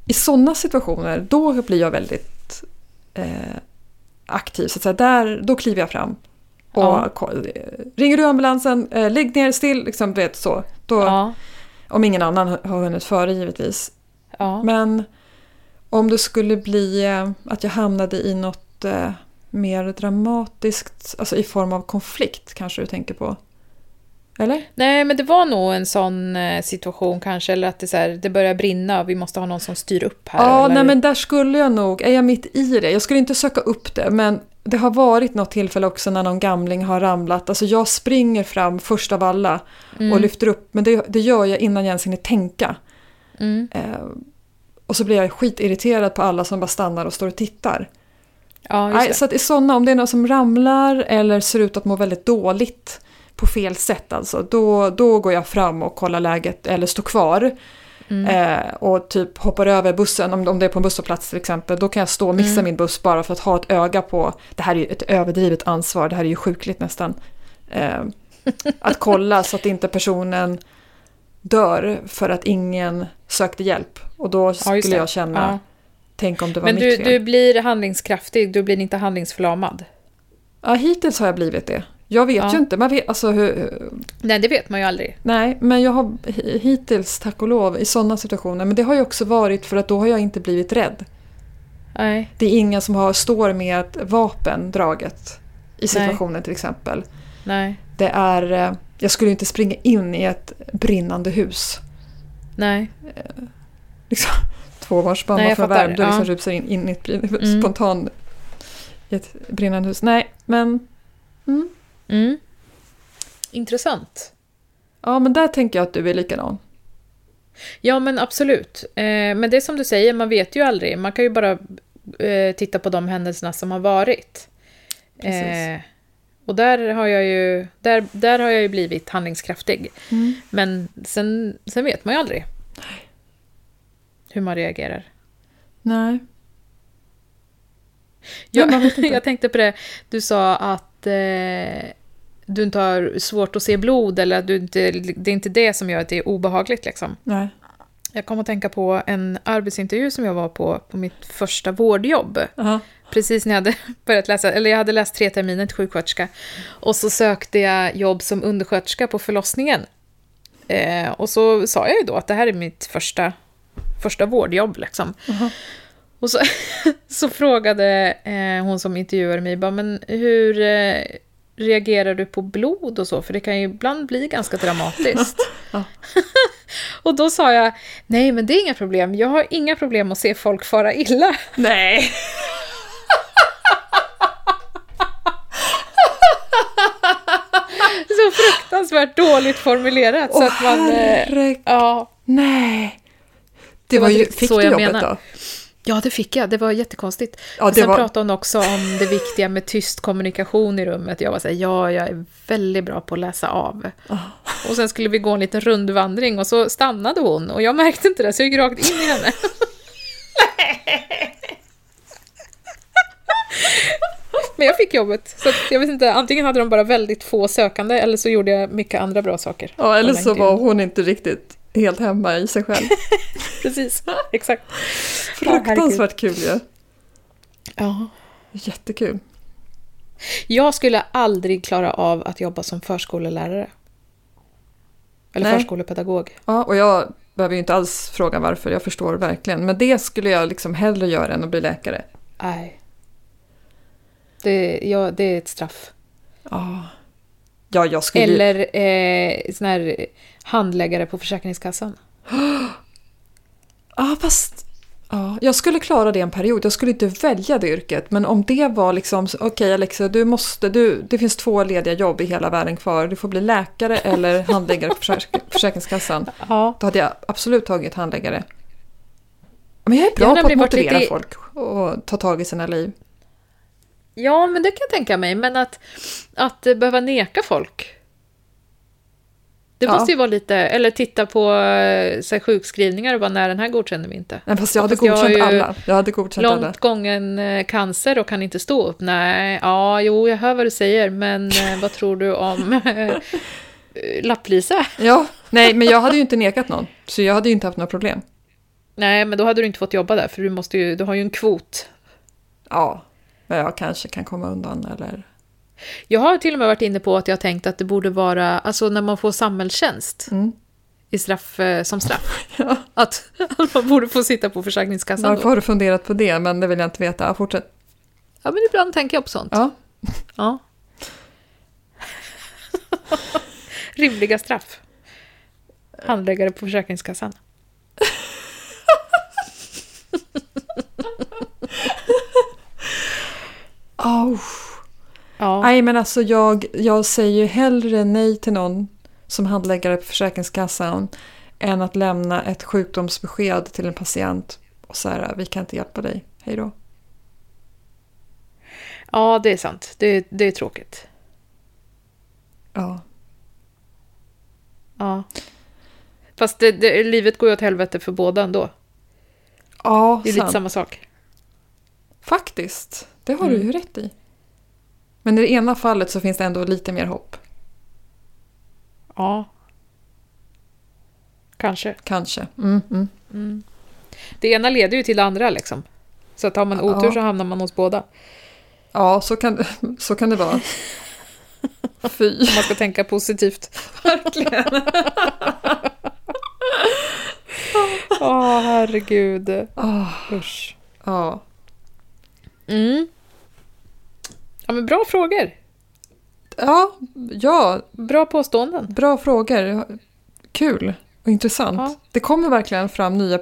i sådana situationer, då blir jag väldigt eh, aktiv. Så att säga, där, då kliver jag fram. Och Ja. ko- eh, ringer du ambulansen, eh, lägg ner still, liksom, du vet så. Då, Ja. Om ingen annan har hunnit före givetvis. ja. Men om det skulle bli eh, att jag hamnade i något eh, mer dramatiskt, alltså i form av konflikt kanske du tänker på? Eller? Nej, men det var nog en sån eh, situation kanske, eller att det, så här, det börjar brinna och vi måste ha någon som styr upp här. Ja, eller? nej men där skulle jag nog, är jag mitt i det? Jag skulle inte söka upp det, men det har varit något tillfälle också när någon gamling har ramlat. Alltså jag springer fram först av alla och lyfter upp, men det, det gör jag innan jag ens hinner tänka. Mm. Eh, och så blir jag skitirriterad på alla som bara stannar och står och tittar. Ja, just Nej, det. så att i sådana, om det är någon som ramlar eller ser ut att må väldigt dåligt på fel sätt alltså, då, då går jag fram och kollar läget eller står kvar. Mm. Eh, och typ hoppar över bussen, om, om det är på en busshållplats till exempel, då kan jag stå och missa Mm. min buss bara för att ha ett öga på, det här är ju ett överdrivet ansvar, det här är ju sjukligt nästan. Eh, att kolla så att inte personen dör för att ingen sökte hjälp. Och då Ja, skulle just det. jag känna, Ja. tänk om det var Men mitt du, fel. du blir handlingskraftig, du blir inte handlingsförlamad. Ja, hittills har jag blivit det. Jag vet Ja. ju inte, man vet, alltså, hur, Nej, det vet man ju aldrig. Nej, men jag har hi- hittills, tack och lov, i sådana situationer. Men det har ju också varit för att då har jag inte blivit rädd. Nej. Det är ingen som har, står med ett vapen draget i situationen till exempel. Nej, Det är, eh, jag skulle ju inte springa in i ett brinnande hus. nej. Liksom, tvåbarnsmamma Nej, jag från fattar. Värmdö liksom Ja. rusar in, in i ett brin, Mm. spontan i ett brinnande hus. Nej, men, Mm. Intressant. ja, men där tänker jag att du är likadan. Ja, men absolut. Eh, men det är som du säger, man vet ju aldrig. Man kan ju bara eh, titta på de händelserna som har varit. Eh, Precis. och där har jag ju, där, där har jag ju blivit handlingskraftig. Mm. Men sen, sen vet man ju aldrig hur man reagerar. Nej. Jag, Nej, man vet inte. jag tänkte på det, du sa att eh, du inte har svårt att se blod eller att du inte, det är inte det som gör att det är obehagligt. Liksom. Nej. Jag kom att tänka på en arbetsintervju som jag var på på mitt första vårdjobb. Aha. Precis när jag hade börjat läsa, eller jag hade läst tre terminer till sjuksköterska. Och så sökte jag jobb som undersköterska på förlossningen. Eh, och så sa jag ju då att det här är mitt första, första vårdjobb. Liksom. Aha. Och så, så frågade eh, hon som intervjuade mig, bara, men hur eh, reagerar du på blod och så? För det kan ju ibland bli ganska dramatiskt. Ja. och då sa jag, nej men det är inga problem, jag har inga problem att se folk fara illa. Nej. Så fruktansvärt dåligt formulerat. så Åh, att man, eh, herregud. ja. Nej. Det Det var var ju, typ fick så du jag jobbet menar. då? ja, det fick jag, det var jättekonstigt. Ja, Men det Sen var- pratade hon också om det viktiga med tyst kommunikation i rummet. Jag var såhär, ja, jag är väldigt bra på att läsa av. Ah. Och sen skulle vi gå en liten rundvandring och så stannade hon och jag märkte inte det så jag gick rakt in i henne. Men jag fick jobbet. Så att jag vet inte, antingen hade de bara väldigt få sökande eller så gjorde jag mycket andra bra saker. Ja, eller Alla så intervjuer. var hon inte riktigt helt hemma i sig själv. Precis, exakt. Fruktansvärt kul ju. Ja. Jättekul. Jag skulle aldrig klara av att jobba som förskollärare. Eller Nej. förskolepedagog. Ja, och jag behöver ju inte alls fråga varför, jag förstår verkligen. Men det skulle jag liksom hellre göra än att bli läkare. Nej. Det, ja, det är ett straff. Ja, ja jag skulle ju- Eller eh, sån här handläggare på Försäkringskassan. Ja, fast... Ja, jag skulle klara det en period. Jag skulle inte välja det yrket. Men om det var liksom, så, okej Alexa, du måste, du, det finns två lediga jobb i hela världen kvar. Du får bli läkare eller handläggare på Försäk- Försäkringskassan. Ja. Då hade jag absolut tagit handläggare. Men jag är bra Jag har på att nämligen varit motivera lite- folk och ta tag i sina liv. ja, men det kan jag tänka mig. Men att, att eh, behöva neka folk. Det Ja. måste ju vara lite... Eller titta på eh, så här, sjukskrivningar och bara, nej, den här godkänner vi inte. Nej, fast jag hade Fast jag har godkänt ju alla. Jag hade godkänt alla. Långt gången eh, cancer och kan inte stå upp? Nej, ja, jo, jag hör vad du säger, men eh, vad tror du om eh, lapplisa? Ja, nej, men jag hade ju inte nekat någon. Så jag hade ju inte haft några problem. Nej, men då hade du inte fått jobba där, för du, måste ju, du har ju en kvot. Ja, men jag kanske kan komma undan eller... Jag har till och med varit inne på att jag tänkt att det borde vara, alltså när man får samhällstjänst Mm. i straff, eh, som straff, att, att man borde få sitta på Försäkringskassan Varför då. har du funderat på det? Men det vill jag inte veta. Ja, fortsätt. Ja, men ibland tänker jag på sånt. Ja. Ja. Rimliga straff. Handläggare på Försäkringskassan. Oh. Ja. Nej, men alltså jag, jag säger ju hellre nej till någon som handläggare på Försäkringskassan än att lämna ett sjukdomsbesked till en patient och säga vi kan inte hjälpa dig, hej då. ja, det är sant. Det, det är tråkigt. Ja. Ja. Fast det, det, livet går ju åt helvete för båda ändå. Ja, Det är lite sant. samma sak. Faktiskt, det har du ju rätt i. Men i det ena fallet så finns det ändå lite mer hopp, Ja. Kanske. kanske. Mm, mm. Det ena leder ju till det andra liksom. Så att har man otur Ja. så hamnar man hos båda. Ja, så kan, så kan det vara. Fy. Om man ska tänka positivt. Verkligen. Åh, herregud. Ah, Usch. ja. Mm. Ja, men bra frågor. Ja, ja, Bra påståenden. bra frågor. Kul och intressant. Ja. Det kommer verkligen fram nya,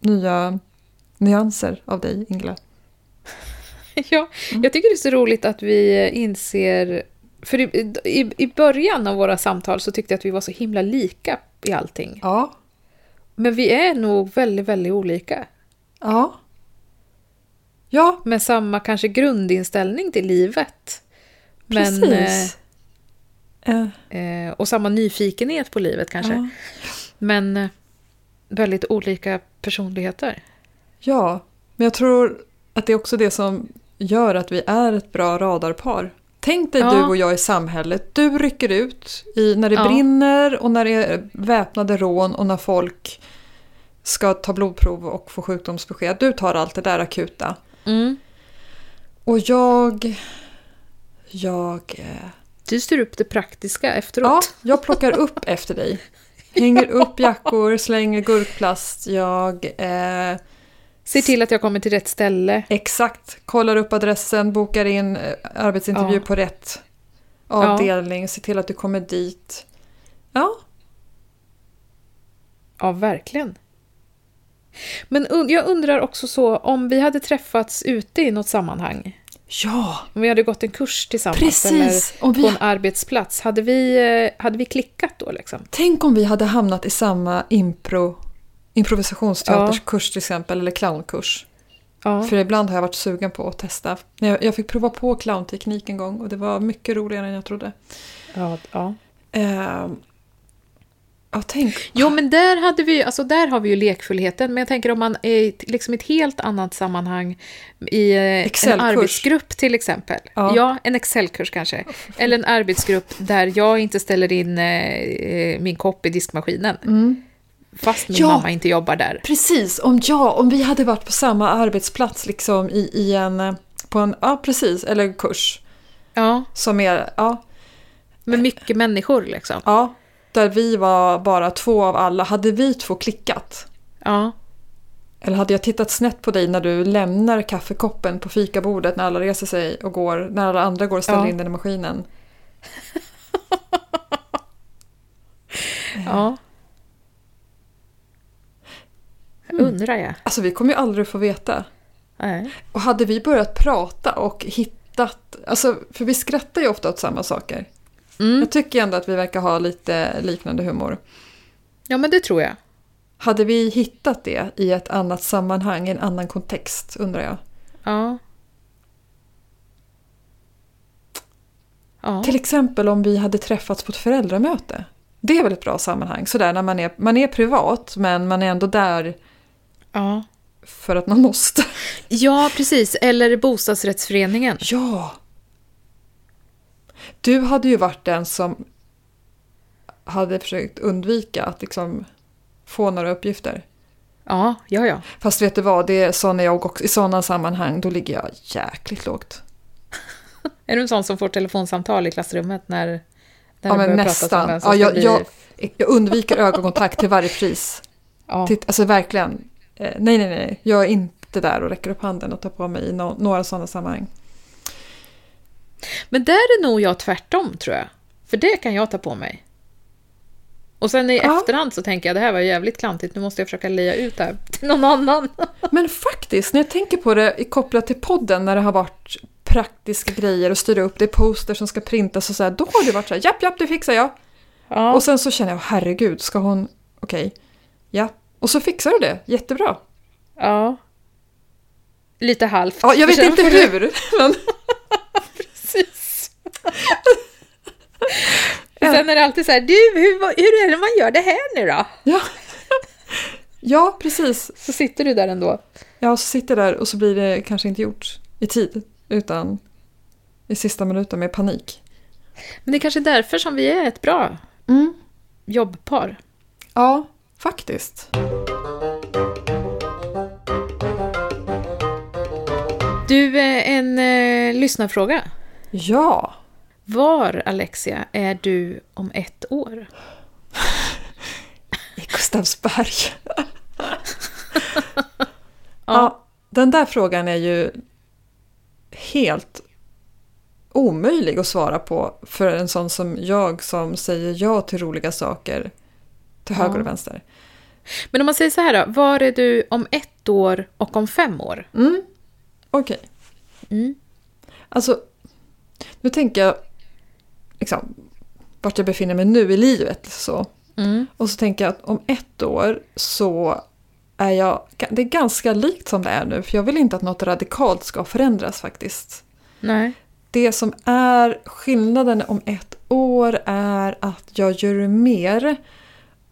nya nyanser av dig, Ingela. Ja, jag tycker det är så roligt att vi inser... För i, i, i början av våra samtal så tyckte jag att vi var så himla lika i allting. Ja. Men vi är nog väldigt, väldigt olika. Ja. Ja, Med samma kanske grundinställning till livet. Men, precis. Eh, eh, eh, och samma nyfikenhet på livet kanske. ja. Men eh, väldigt olika personligheter. ja, men jag tror att det är också det som gör att vi är ett bra radarpar. Tänk dig Ja. du och jag i samhället. Du rycker ut i, när det Ja. brinner och när det är väpnade rån och när folk ska ta blodprov och få sjukdomsbesked. Du tar allt det där akuta. Mm. Och jag... Jag... eh, Du styr upp det praktiska Ja, efteråt. jag plockar upp efter dig. Hänger upp jackor, slänger gurkplast. Jag eh, Se till att jag kommer till rätt ställe. exakt kollar upp adressen, bokar in eh, arbetsintervju Ja. på rätt avdelning. Ser till att du kommer dit. Ja, Ja, verkligen. Men un- jag undrar också så om vi hade träffats ute i något sammanhang. ja Om vi hade gått en kurs tillsammans eller precis. Om på vi, en arbetsplats. Hade vi, eh, hade vi klickat då liksom? tänk om vi hade hamnat i samma impro, improvisationsteaterskurs till exempel, eller clownkurs. Ja. För ibland har jag varit sugen på att testa. Men Jag, jag fick prova på clownteknik en gång och det var mycket roligare än jag trodde. Ja, ja. Eh, ja, tänk. Jo, men där, hade vi, alltså där har vi ju lekfullheten. Men jag tänker om man är i ett- liksom ett helt annat sammanhang i eh, en Excelkurs. arbetsgrupp till exempel. Ja. en Excelkurs kanske. Eller en arbetsgrupp där jag inte ställer in eh, eh, min kopp i diskmaskinen. Fast min Mm. Ja. mamma inte jobbar där. Precis, om jag, om vi hade varit på samma arbetsplats liksom i, i en, eh, på en, ja precis, eller en kurs Ja, som är, ja, med mycket människor liksom. ja, där vi var bara två av alla, hade vi två klickat? Ja, Eller hade jag tittat snett på dig när du lämnar kaffekoppen på fikabordet när alla reser sig och går, när alla andra går och ställer Ja. in den i maskinen? ja. Undrar jag. Alltså vi kommer ju aldrig få veta. Nej. Och hade vi börjat prata och hittat, alltså för vi skrattar ju ofta åt samma saker. Mm. Jag tycker ändå att vi verkar ha lite liknande humor. Ja, men det tror jag. Hade vi hittat det i ett annat sammanhang, i en annan kontext, undrar jag. Ja. Ja. Till exempel om vi hade träffats på ett föräldramöte. Det är väl ett bra sammanhang, sådär när man är, man är privat men man är ändå där ja. för att man måste. Ja, precis. Eller bostadsrättsföreningen. Ja! Du hade ju varit den som hade försökt undvika att liksom få några uppgifter. Ja, ja, ja. Fast vet du vad, det är sån är jag också. I sådana sammanhang då ligger jag jäkligt lågt. Är du en sån som får telefonsamtal i klassrummet när, när Ja, de men börjar prata nästan. om vem som Ja, ska jag, bli... jag, jag undviker ögonkontakt till varje pris. ja. Titt, alltså verkligen. Eh, nej, nej, nej. Jag är inte där och räcker upp handen och tar på mig i nå- några sådana sammanhang. Men där är nog jag tvärtom, tror jag. För det kan jag ta på mig. Och sen i Ja. efterhand så tänker jag det här var jävligt klantigt, nu måste jag försöka leja ut det här till någon annan. Men faktiskt, när jag tänker på det i- kopplat till podden när det har varit praktiska grejer och styra upp, det är poster som ska printas och så här, då har det varit så här, japp, japp, det fixar jag. Ja, Och sen så känner jag, herregud, ska hon, okej, ja. Och så fixar du det, jättebra. ja. Lite halvt. Ja, jag vet Känner inte man- hur, men Precis. Och sen är det alltid så här, du, hur, vad- hur är det man gör det här nu då? ja. Ja, precis. Så sitter du där ändå. Ja, och så sitter jag där och så blir det kanske inte gjort i tid utan i sista minuten med panik. Men det är kanske är därför som vi är ett bra Mm. jobbpar. Ja, faktiskt. Du, eh, en eh, lyssnarfråga. Ja, Var, Alexia, är du om ett år? I Gustavsberg. ja, den där frågan är ju helt omöjlig att svara på för en sån som jag som säger ja till roliga saker till höger och vänster. Men om man säger så här då, var är du om ett år och om fem år? Mm. Okej. Mm. Alltså, nu tänker jag liksom, vart jag befinner mig nu i livet. Så. Mm. Och så tänker jag att om ett år så är jag... Det är ganska likt som det är nu, för jag vill inte att något radikalt ska förändras faktiskt. Nej. Det som är skillnaden om ett år är att jag gör mer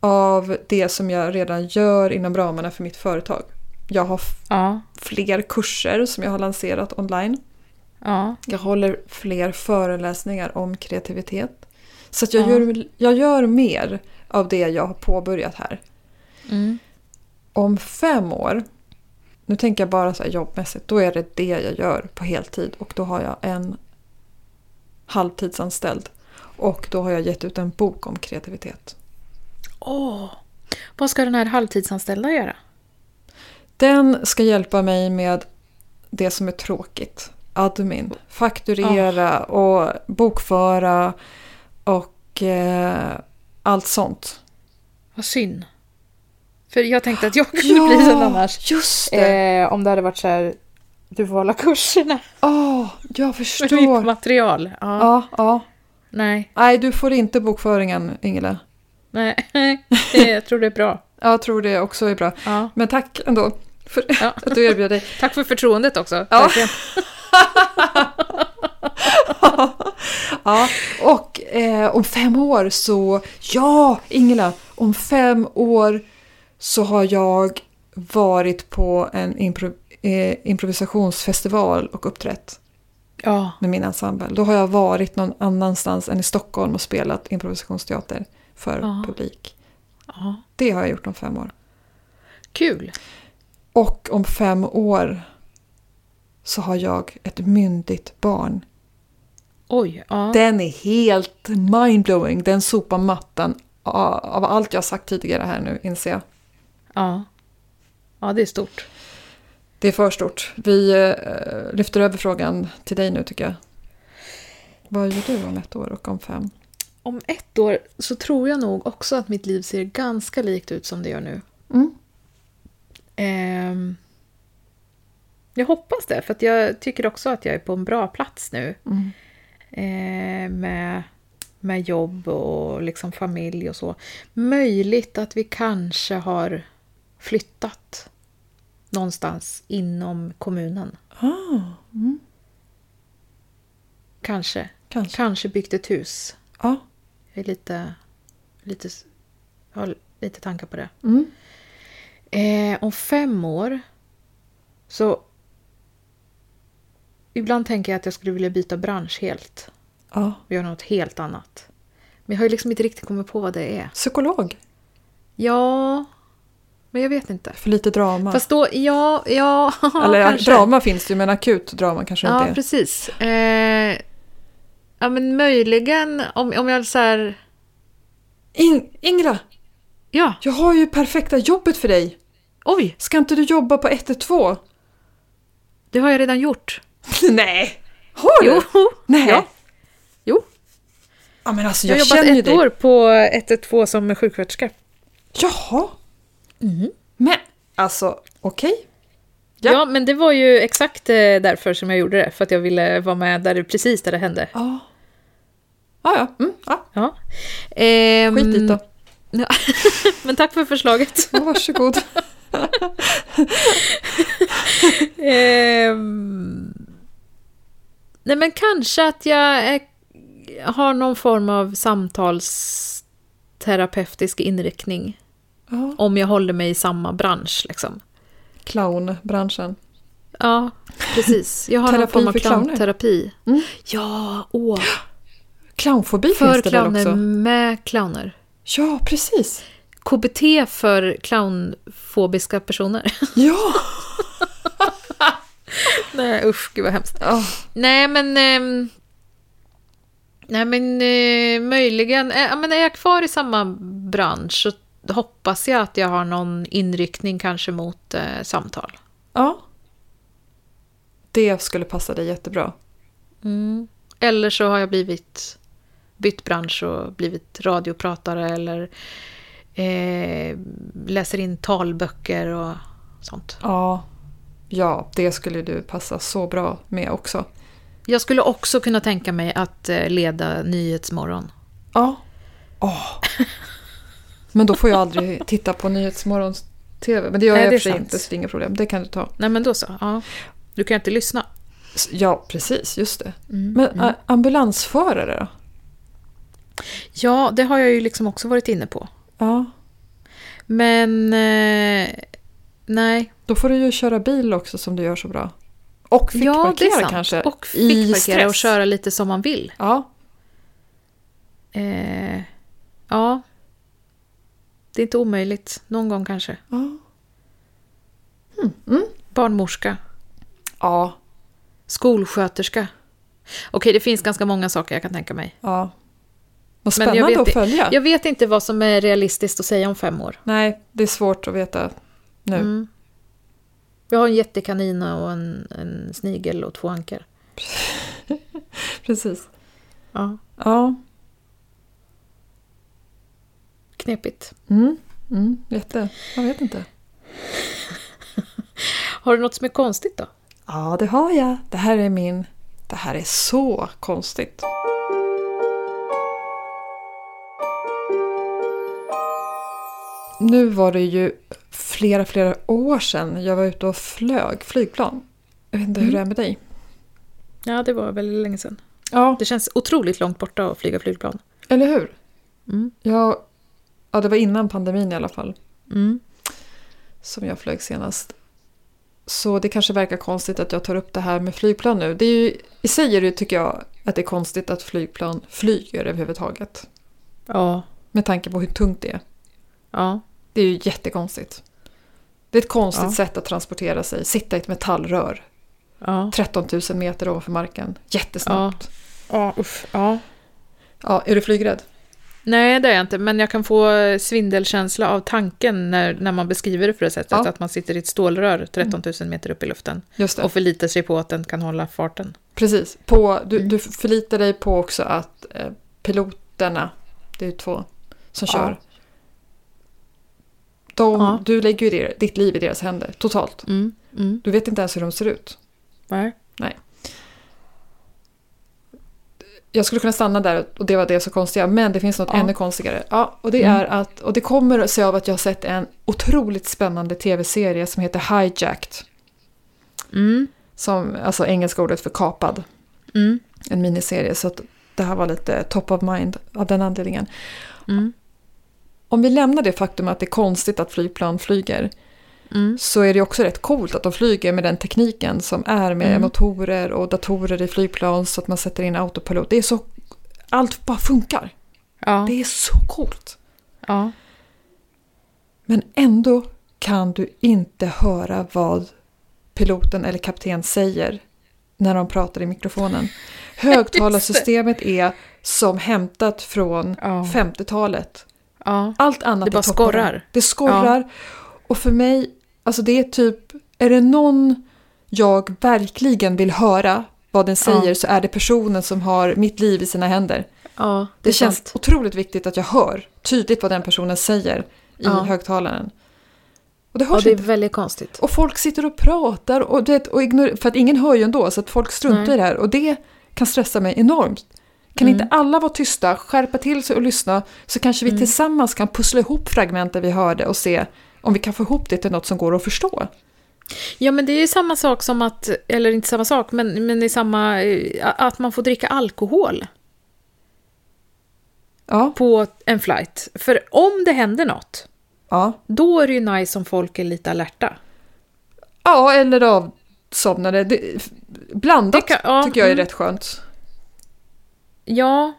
av det som jag redan gör inom ramarna för mitt företag. Jag har f- Ja. fler kurser som jag har lanserat online. Ja. Jag håller fler föreläsningar om kreativitet. Så att jag, Ja. gör, jag gör mer av det jag har påbörjat här. Mm. Om fem år, nu tänker jag bara så här jobbmässigt, då är det det jag gör på heltid och då har jag en halvtidsanställd. Och då har jag gett ut en bok om kreativitet. Åh! Vad ska den här halvtidsanställda göra? Den ska hjälpa mig med det som är tråkigt. Admin, fakturera och bokföra och eh, allt sånt. Vad synd. För jag tänkte att jag kunde bli den annars. just det! Eh, om det hade varit så här, du får hålla kurserna Åh, jag med mitt förstår. material. Ja. Ja, ja. Nej, Nej, du får inte bokföringen, Ingela. nej, det, jag tror det är bra. Jag tror det också är bra. Ja. Men tack ändå för Ja. att du erbjöd dig. Tack för förtroendet också. Ja. verkligen. Ja, och eh, om fem år så... Ja, Ingela! Om fem år så har jag varit på en impro, eh, improvisationsfestival och uppträtt ja. med min ensemble. Då har jag varit någon annanstans än i Stockholm och spelat improvisationsteater för Ja. publik. ja. Det har jag gjort om fem år. Kul. Och om fem år så har jag ett myndigt barn. Oj, ja. Den är helt mindblowing. Den sopar mattan av av allt jag har sagt tidigare här nu, inser jag. ja. Ja, det är stort. Det är för stort. Vi eh, lyfter över frågan till dig nu tycker jag. Vad gör du om ett år och om fem? Om ett år så tror jag nog också att mitt liv ser ganska likt ut som det gör nu. Mm. Ehm, jag hoppas det, för att jag tycker också att jag är på en bra plats nu. Mm. Ehm, med, med jobb och liksom familj och så. Möjligt att vi kanske har flyttat någonstans inom kommunen. Ah, Kanske. kanske. Kanske byggt ett hus. Ja. Jag är lite, lite, s- jag har lite tankar på det. Mm. Eh, om fem år så... Ibland tänker jag att jag skulle vilja byta bransch helt ja. och göra något helt annat. Men jag har ju liksom inte riktigt kommit på vad det är. Psykolog. Ja, men jag vet inte. För lite drama. Fast då, ja, ja, Eller ja, kanske. drama finns det ju, men akut drama kanske Ja, inte är. precis. Eh, ja, men möjligen om, om jag så här... In- Ingela, Ja, jag har ju perfekta jobbet för dig. oj, Ska inte du jobba på 112? det har jag redan gjort. Nej! Har du? Jo, Nej. Ja. jo. Ja, men alltså, jag jag, har jobbat känner ju ett dig. år på 112 som sjuksköterska. Jaha! Mm. Men alltså, okej. Ja. Ja. men det var ju exakt eh, därför som jag gjorde det. För att jag ville vara med där det, precis där det hände. Ja. Ja, ja. Mm, ja. Ja. Ehm, Skit i det då. Ja. men tack för förslaget. Mm. Ja, Varsågod. Ehm, nej, men kanske att jag eh, har någon form av samtalsterapeutisk inriktning. Ja. Om jag håller mig i samma bransch. Liksom. Clownbranschen. Ja, precis. Jag har någon Terapi form av för clowner. clownterapi. Mm. Ja, åh. Clownfobi För finns det väl clowner också? med clowner. Ja, precis. KBT för clownfobiska personer. Ja! Nej usch, gud vad hemskt. Ja. Nej men... ehm, Nej, men eh, möjligen. Eh, ja, men är jag kvar i samma bransch så hoppas jag att jag har någon inriktning kanske mot eh, samtal. Ja. Det skulle passa dig jättebra. Mm. Eller så har jag blivit bytt bransch och blivit radiopratare eller eh, läser in talböcker och sånt. Ja. Ja, det skulle du passa så bra med också. Jag skulle också kunna tänka mig att eh, leda Nyhetsmorgon. Ja. Åh. Men då får jag aldrig titta på Nyhetsmorgons TV. Men det gör Nej, jag det är i och för sig sant. inte, så det är inga problem. Det kan du ta. Nej, men då så. Ja. Du kan ju inte lyssna. S- Ja, precis. Just det. Mm. Men ä, ambulansförare då? Ja, det har jag ju liksom också varit inne på. Ja. Men eh, nej. Då får du ju köra bil också som du gör så bra. Och fick Ja, det är sant. kanske. Och i fickparkera och stress. köra lite som man vill. Ja, Eh, ja. Det är inte omöjligt. Någon gång kanske. Hmm, mm. Ja. Barnmorska. ja, Skolsköterska. Okej, det finns ganska många saker jag kan tänka mig. ja. Vad Men jag spännande vet att följa. Jag vet inte vad som är realistiskt att säga om fem år. Nej, det är svårt att veta nu. Mm. Jag har en jättekanin och en, en snigel och två ankar. Precis. Ja. Ja, Knepigt. mm. Mm. jätte. Jag vet inte. Har du något som är konstigt då? Ja, det har jag. Det här är min... Det här är så konstigt. Nu var det ju flera, flera år sedan jag var ute och flög flygplan. Jag vet inte hur det är med dig. Ja, det var väldigt länge sedan. Ja, Det känns otroligt långt borta att flyga flygplan. Eller hur? Mm. Jag, ja, det var innan pandemin i alla fall Mm. som jag flög senast. Så det kanske verkar konstigt att jag tar upp det här med flygplan nu. Det är ju, I sig är det, tycker jag att det är konstigt att flygplan flyger överhuvudtaget. Ja. Med tanke på hur tungt det är. Ja. Det är ju jättekonstigt. Det är ett konstigt Ja. sätt att transportera sig. Sitta i ett metallrör Ja. 13 000 meter ovanför marken. Jättesnabbt. Ja, uff. Ja. Ja, är du flygrädd? Nej, det är jag inte. Men jag kan få eh, svindelkänsla av tanken när, när man beskriver det på det sättet. Ja. Att man sitter i ett stålrör 13 000 meter upp i luften Just det. och förlitar sig på att den kan hålla farten. Precis. På, du, Mm. du förlitar dig på också att eh, piloterna, det är ju två som Ja. kör. De, Ja. Du lägger ju det, ditt liv i deras händer, totalt. Mm. Mm. Du vet inte ens hur de ser ut. Nej. Jag skulle kunna stanna där och det var det så konstiga, men det finns något Ja. ännu konstigare. Ja, och, det Mm. är att, och det kommer sig av att jag har sett en otroligt spännande tv-serie som heter Hijacked. Mm. Som, alltså engelska ordet för kapad. Mm. En miniserie, så att det här var lite top of mind av den anledningen. Mm. Om vi lämnar det faktum att det är konstigt att flygplan flyger Mm. så är det också rätt coolt att de flyger med den tekniken som är med Mm. motorer och datorer i flygplan så att man sätter in autopilot. Det är så, allt bara funkar. Ja. Det är så coolt. ja. Men ändå kan du inte höra vad piloten eller kapten säger när de pratar i mikrofonen. Högtalarsystemet är som hämtat från Ja. 50-talet. ja. Allt annat Det bara är toppar. skorrar. Det skorrar. Och för mig, alltså det är typ, är det någon jag verkligen vill höra vad den säger så är det personen som har mitt liv i sina händer. Det, ja. Det, är känns sant. otroligt viktigt att jag hör tydligt vad den personen säger i Ja. högtalaren. Och det Ja, hörs det är inte. väldigt konstigt. Och folk sitter och pratar och, du vet, och ignorerar, för att ingen hör ju ändå så att folk struntar Nej. Mm. i det här och det kan stressa mig enormt. Kan inte alla vara tysta, skärpa till sig och lyssna så kanske vi tillsammans kan pussla ihop fragmenten vi hörde och se om vi kan få ihop det till något som går att förstå. Ja, men det är ju samma sak som att, eller inte samma sak, men, men det är samma, eh, att man får dricka alkohol Ja, på en flight. För om det händer något, ja. då är det ju nice om folk är lite alerta. ja eller avsomnade. Det, blandat Det kan- ja, tycker jag är mm. rätt skönt. Ja,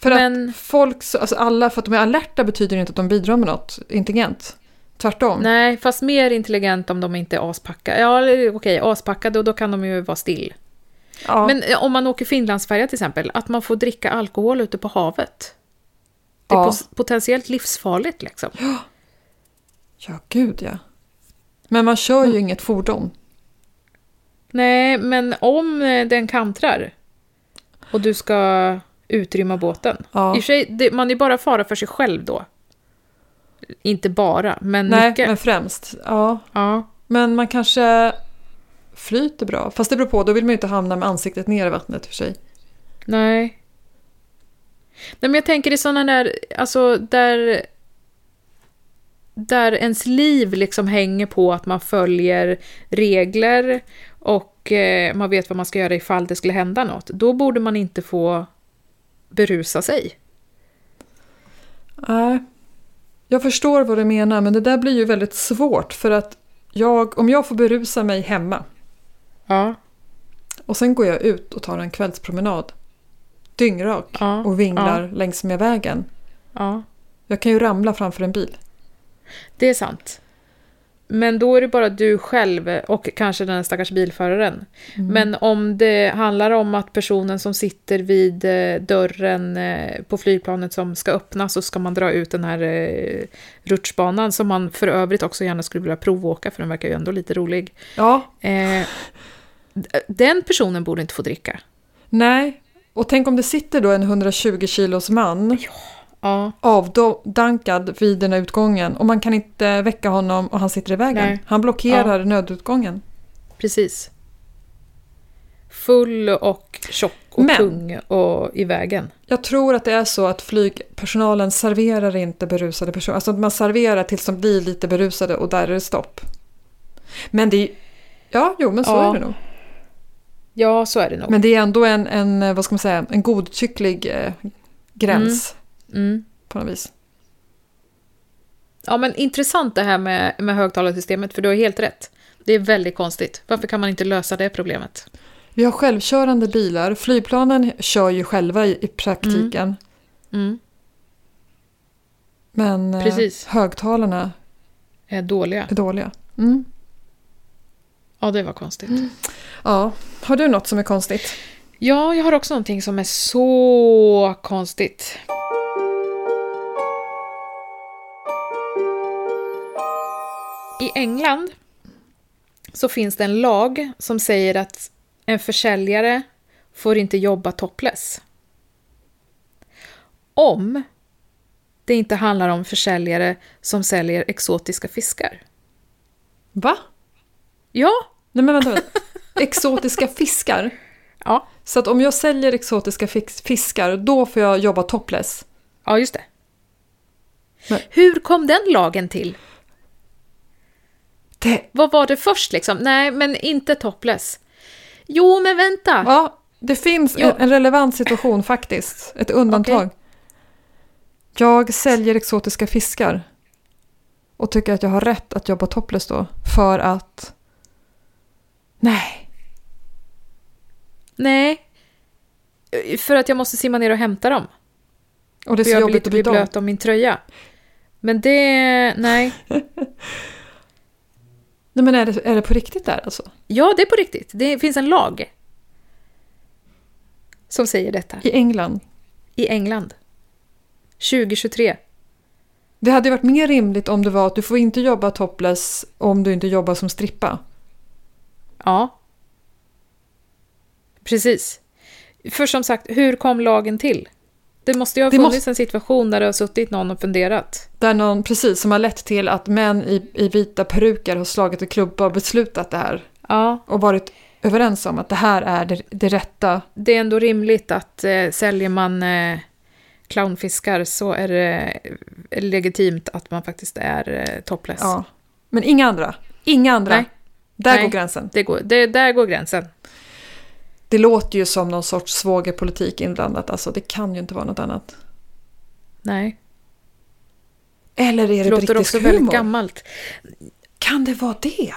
För Men- att folk, så- alltså alla, för att de är alerta betyder inte att de bidrar med något intelligent. Tvärtom. nej, fast mer intelligent om de inte är aspackade. Ja, eller okej, aspackade och då kan de ju vara still. Ja, Men eh, om man åker Finlandsfärja till exempel, att man får dricka alkohol ute på havet. Det är Ja. pos- potentiellt livsfarligt liksom. ja gud ja. Men man kör Mm. ju inget fordon. Nej, men om eh, den kantrar och du ska utrymma båten. Ja. I och för sig, det, man är bara fara för sig själv då. Inte bara, men Nej, mycket. men främst. Ja. Ja. Men man kanske flyter bra. Fast det beror på, då vill man ju inte hamna med ansiktet ner i vattnet i och för sig. Nej. Nej, men jag tänker i sådana där, alltså där, där ens liv liksom hänger på att man följer regler och eh, man vet vad man ska göra ifall det skulle hända något. Då borde man inte få berusa sig. Nej. Jag förstår vad du menar, men det där blir ju väldigt svårt för att jag, om jag får berusa mig hemma Ja, och sen går jag ut och tar en kvällspromenad dyngrak ja, och vinglar längs med vägen. ja. Jag kan ju ramla framför en bil. Det är sant. Men då är det bara du själv och kanske den stackars bilföraren. Men om det handlar om att personen som sitter vid eh, dörren eh, på flygplanet som ska öppnas så ska man dra ut den här eh, rutschbanan som man för övrigt också gärna skulle vilja provåka för den verkar ju ändå lite rolig. Ja, Eh, d- den personen borde inte få dricka. nej. Och tänk om det sitter då en 120 kilos man Ja, avdankad vid den här utgången och man kan inte väcka honom och han sitter i vägen. Nej. Han blockerar nödutgången. precis. Full och tjock och Men- tung och i vägen. Jag tror att det är så att flygpersonalen serverar inte berusade personer. Alltså att man serverar tills de blir lite berusade och där är det stopp. Men det är... Ja, jo men så Ja. är det nog. Ja, så är det nog. Men det är ändå en, en eh, vad ska man säga, en godtycklig eh, gräns Mm. på något vis. Ja, men intressant det här med, med högtalarsystemet, för du har helt rätt. Det är väldigt konstigt. Varför kan man inte lösa det problemet? Vi har självkörande bilar. Flygplanen kör ju själva i, i praktiken. Mm. Men eh, Precis. högtalarna Är dåliga. är dåliga. Mm. Ja, det var konstigt. Ja, har du något som är konstigt? Ja, jag har också någonting som är så konstigt. I England så finns det en lag som säger att en försäljare får inte jobba topless. Om det inte handlar om försäljare som säljer exotiska fiskar. Va? Ja, Nej men vänta, vänta. Exotiska fiskar? ja, Så att om jag säljer exotiska fix- fiskar, då får jag jobba topless? ja just det. Men- Hur kom den lagen till? Det, Vad var det först liksom? Nej, men inte topless. Jo, men vänta. ja, det finns Ja. en, en relevant situation faktiskt. Ett undantag. Okej. Jag säljer exotiska fiskar och tycker att jag har rätt att jobba topless då för att... Nej. Nej. För att jag måste simma ner och hämta dem. Och det är För så jag vill jobbigt inte att bli bli dem. blöt om min tröja. Men det... Nej. Nej men är det, är det på riktigt där alltså? Ja, det är på riktigt. Det finns en lag. Som säger detta. I England? I England. 2023. Det hade ju varit mer rimligt om det var att du får inte jobba topless om du inte jobbar som strippa. Ja. Precis. För som sagt, hur kom lagen till? Det måste ju ha Det funnits måste- en situation där det har suttit någon och funderat. Där någon, precis, som har lett till att män i, i vita peruker har slagit och klubba och beslutat det här. Ja, Och varit överens om att det här är det, det rätta. det är ändå rimligt att eh, säljer man eh, clownfiskar så är det eh, legitimt att man faktiskt är eh, topless. Ja. Men inga andra. Inga andra. Nej. Där Nej. går gränsen. Det går, det, där går gränsen. Det låter ju som någon sorts svågerpolitik inblandat. Alltså det kan ju inte vara något annat. Nej, Eller är det det låter brittisk också humor? väldigt gammalt. Kan det vara det?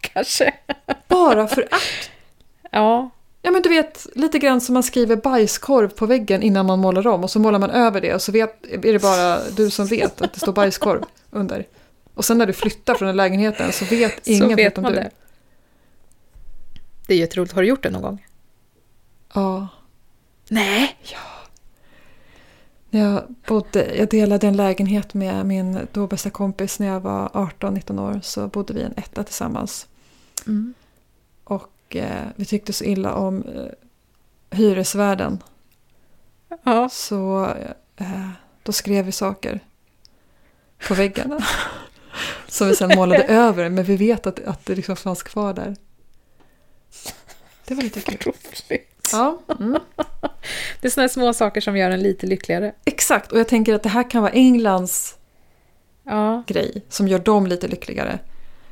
Kanske. Bara för att? Ja, Ja men du vet, lite grann som man skriver bajskorv på väggen innan man målar om och så målar man över det och så vet, är det bara du som vet att det står bajskorv under. Och sen när du flyttar från den lägenheten så vet ingen så vet förutom man du. det. Det är jätteroligt. Har du gjort det någon gång? Ja. Nej! När jag, bodde, jag delade en lägenhet med min då bästa kompis när jag var 18-19 år så bodde vi i en etta tillsammans. Mm. Och eh, vi tyckte så illa om eh, hyresvärden Ja. så eh, då skrev vi saker på väggarna. som vi sen målade över men vi vet att, att det liksom fanns kvar där. Det var lite kul. Ja. Mm. Det är såna här små saker som gör en lite lyckligare. Exakt, och jag tänker att det här kan vara Englands Ja, grej som gör dem lite lyckligare.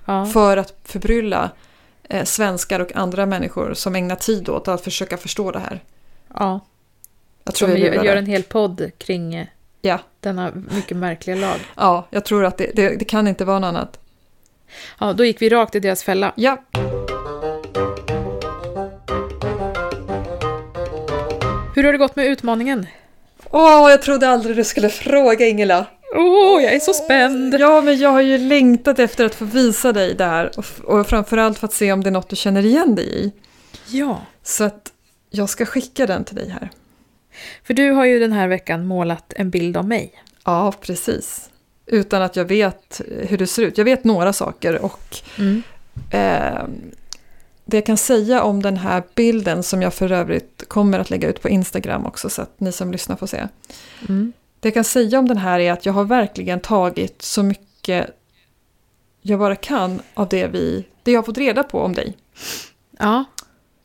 ja. För att förbrylla eh, svenskar och andra människor som ägnar tid åt att försöka förstå det här. ja. Jag tror Som vi gör, lurar gör det. en hel podd kring eh, ja, denna mycket märkliga lag. ja, jag tror att det, det, det kan inte vara något annat. Ja, då gick vi rakt i deras fälla. Ja, Hur har det gått med utmaningen? åh, jag trodde aldrig du skulle fråga Ingela. Åh, jag är så spänd! Ja, men jag har ju längtat efter att få visa dig det här och, f- och framförallt för att se om det är något du känner igen dig i. Ja, Så att jag ska skicka den till dig här. för du har ju den här veckan målat en bild av mig. Ja, precis. Utan att jag vet hur du ser ut. Jag vet några saker och Mm. Eh, det jag kan säga om den här bilden som jag för övrigt kommer att lägga ut på Instagram också så att ni som lyssnar får se. Mm. Det jag kan säga om den här är att jag har verkligen tagit så mycket jag bara kan av det, vi, det jag har fått reda på om dig Ja,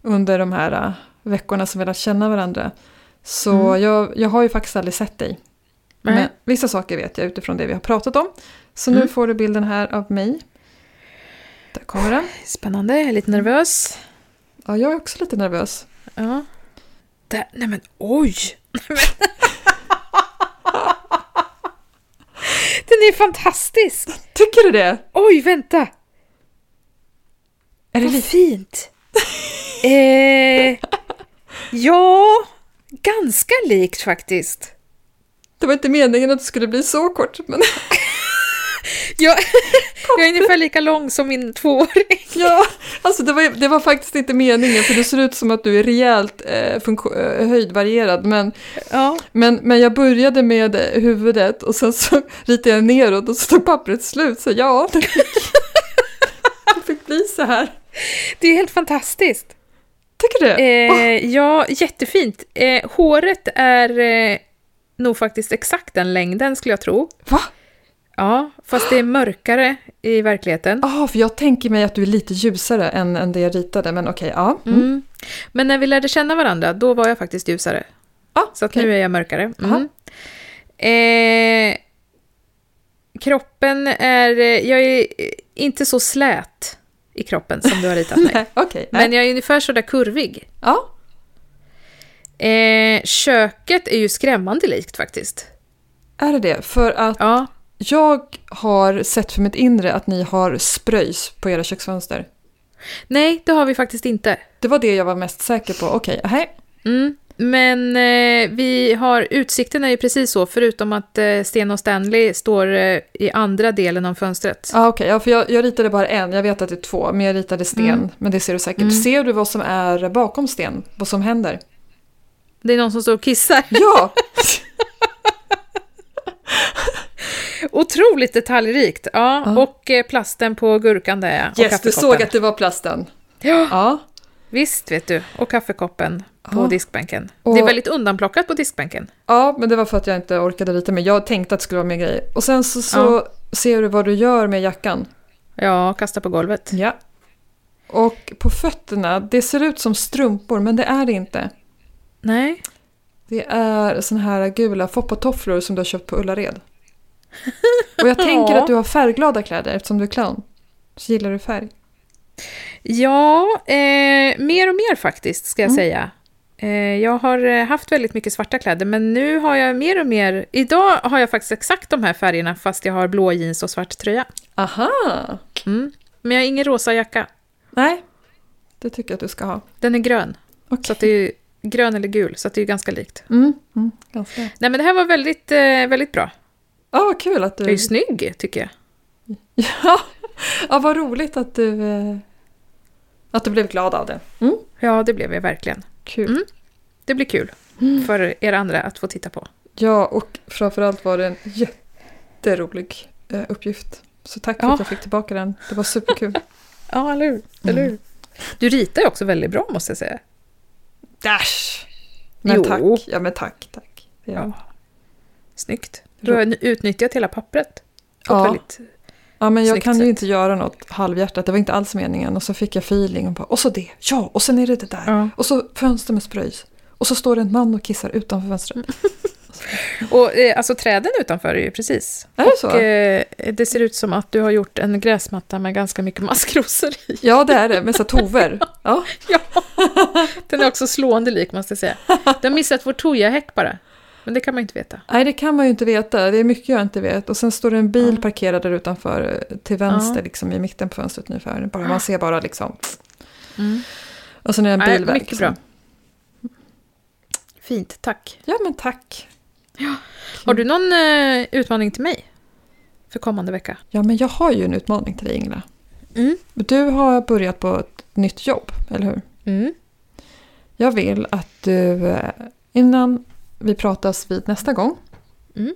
under de här eh, veckorna som vi har lärt känna varandra. Så Mm. jag, jag har ju faktiskt aldrig sett dig. Nej. Men vissa saker vet jag utifrån det vi har pratat om. Så nu Mm. får du bilden här av mig. Där kommer den. spännande. Jag är lite nervös. Ja, jag är också lite nervös. Ja. Där, nej men oj! Nej, men. Den är fantastisk! Tycker du det? Oj, vänta! Är det Vad lite? fint! Eh, ja, ganska likt faktiskt. Det var inte meningen att det skulle bli så kort, men Jag, jag är ungefär lika lång som min tvååring. ja, alltså det var, det var faktiskt inte meningen, för det ser ut som att du är rejält eh, funko- eh, höjdvarierad, men, Ja. men, men jag började med eh, huvudet och sen så ritade jag neråt och så tog pappret slut, så ja, det fick, det fick bli så här. Det är helt fantastiskt. Tycker du? Eh, ja, jättefint. Eh, håret är eh, nog faktiskt exakt den längden skulle jag tro. Va? Ja, fast det är mörkare i verkligheten. Ja, för jag tänker mig att du är lite ljusare än, än det jag ritade, men okej, ja. Mm. Mm. Men när vi lärde känna varandra, då var jag faktiskt ljusare. Ja, Så att okej. nu är jag mörkare. Aha. Mm. Eh, kroppen är... eh, Jag är eh, inte så slät i kroppen som du har ritat mig. Nej, okej. nej. Men jag är ungefär sådär kurvig. ja. Eh, köket är ju skrämmande likt faktiskt. Är det det? För att Ja, Jag har sett för mitt inre att ni har spröjs på era köksfönster. nej det har vi faktiskt inte. Det var det jag var mest säker på. Okej, nej. Mm. Men eh, vi har, utsikten är ju precis så, förutom att eh, Sten och Stanley står eh, i andra delen av fönstret. Ah, okay. Ja, för jag, jag ritade bara en. Jag vet att det är två, men jag ritade sten. Mm. Men det ser du säkert. Mm. Ser du vad som är bakom sten? Vad som händer? Det är någon som står och kissar. Ja! Otroligt detaljrikt. Ja, Ja. och eh, plasten på gurkan där ja. Och yes, du kaffekoppen. såg att det var plasten. Ja, Ja. visst vet du. Och kaffekoppen på Ja. diskbänken. Det är Och- väldigt undanplockat på diskbänken. ja, men det var för att jag inte orkade rita. Men jag tänkte att det skulle vara mer grejer. Och sen så, så Ja. ser du vad du gör med jackan. Ja, kasta på golvet. Ja. Och på fötterna, det ser ut som strumpor, men det är det inte. Nej. Det är såna här gula foppatofflor som du har köpt på Ullared. Och jag tänker Ja. att du har färgglada kläder eftersom du är clown. Så gillar du färg. Ja, eh, mer och mer faktiskt ska jag säga. Eh, jag har eh, haft väldigt mycket svarta kläder, men nu har jag mer och mer... Idag har jag faktiskt exakt de här färgerna, fast jag har blå jeans och svart tröja. Aha! Mm. Men jag har ingen rosa jacka. Nej, det tycker jag att du ska ha. Den är grön, så Okej. att det är grön eller gul, så att det är ganska likt. Mm, mm, ganska. Nej, men det här var väldigt, eh, väldigt bra. Ja, vad kul att Jag är du... ju snygg, tycker jag. Ja, ja vad roligt att du... eh, Att du blev glad av det. Mm. Ja, det blev jag verkligen. Kul. Mm. Det blir kul för er andra att få titta på. Ja, och framförallt var det en jätterolig eh, uppgift. Så tack för Ja. att jag fick tillbaka den. Det var superkul. Ja, eller hur? Eller hur? Mm. Du ritar ju också väldigt bra måste jag säga. Dash! Men Jo. tack. Ja, men tack. tack. Ja. Ja. Snyggt. Du har nu utnyttjat hela pappret. På Ja. ett väldigt... Ja, men jag Snyggt kan ju sätt. inte göra något halvhjärtat. Det var inte alls meningen. Och så fick jag feeling. Och, bara, och så det. Ja, och sen är det det där. Ja. Och så fönster med spröjs. Och så står det en man och kissar utanför Mm. fönstret. Och eh, alltså träden utanför är ju precis. Är det så? Och, eh, det ser ut som att du har gjort en gräsmatta med ganska mycket maskrosor i. Ja, det är det. Med så här tover. Ja. Ja, den är också slående lik måste jag säga. Du har missat vår Toja-häck bara. Men det kan man ju inte veta. Nej, det kan man ju inte veta. Det är mycket jag inte vet. Och sen står det en bil parkerad där utanför eh, till vänster, Ja. liksom i mitten på fönstret ungefär. Bara, man ser bara liksom... Och sen är det en Mm. Nej, bilväg. mycket liksom. bra. Fint, tack. Ja, men tack. Har du någon eh, utmaning till mig? För kommande vecka? Ja, men jag har ju en utmaning till dig, Ingela. Mm. Du har börjat på ett nytt jobb, eller hur? Mm. Jag vill att du, eh, innan vi pratas vid nästa gång, Mm.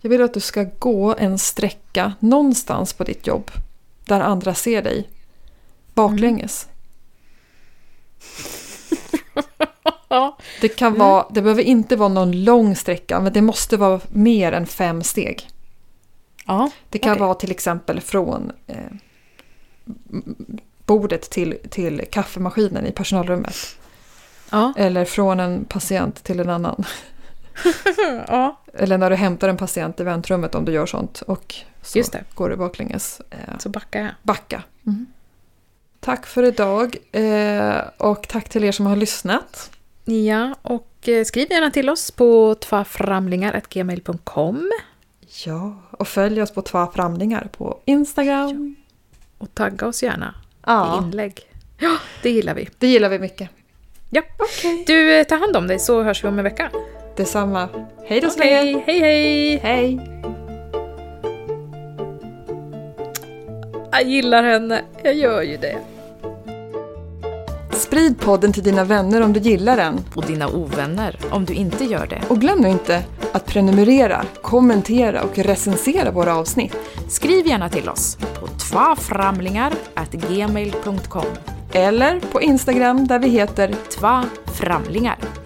jag vill att du ska gå en sträcka någonstans på ditt jobb där andra ser dig baklänges. Mm. Ja. Det, Mm. kan vara, det behöver inte vara någon lång sträcka, men det måste vara mer än fem steg. ja. Det kan Okej. vara till exempel från eh, m- bordet till, till kaffemaskinen i personalrummet. Ja. Eller från en patient till en annan. ja. Eller när du hämtar en patient i väntrummet om du gör sånt. Och så Just Mm. det. går du baklänges. Eh, Så backar jag. backa. Tack för idag eh, och tack till er som har lyssnat. Ja, och eh, skriv gärna till oss på tvaframlingar.gmail.com Ja, och följ oss på Tva Framlingar på Instagram. och tagga oss gärna i Ja, inlägg. Ja, det gillar vi. det gillar vi mycket. Ja. Okej. Du, eh, ta hand om dig så hörs vi om en vecka. Detsamma. Hej då så länge. Okej, hej hej! Hej. Jag gillar henne, jag gör ju det. Sprid podden till dina vänner om du gillar den. Och dina ovänner om du inte gör det. Och glöm nu inte att prenumerera, kommentera och recensera våra avsnitt. Skriv gärna till oss på tvaframlingar.gmail.com Eller på Instagram där vi heter Tva framlingar.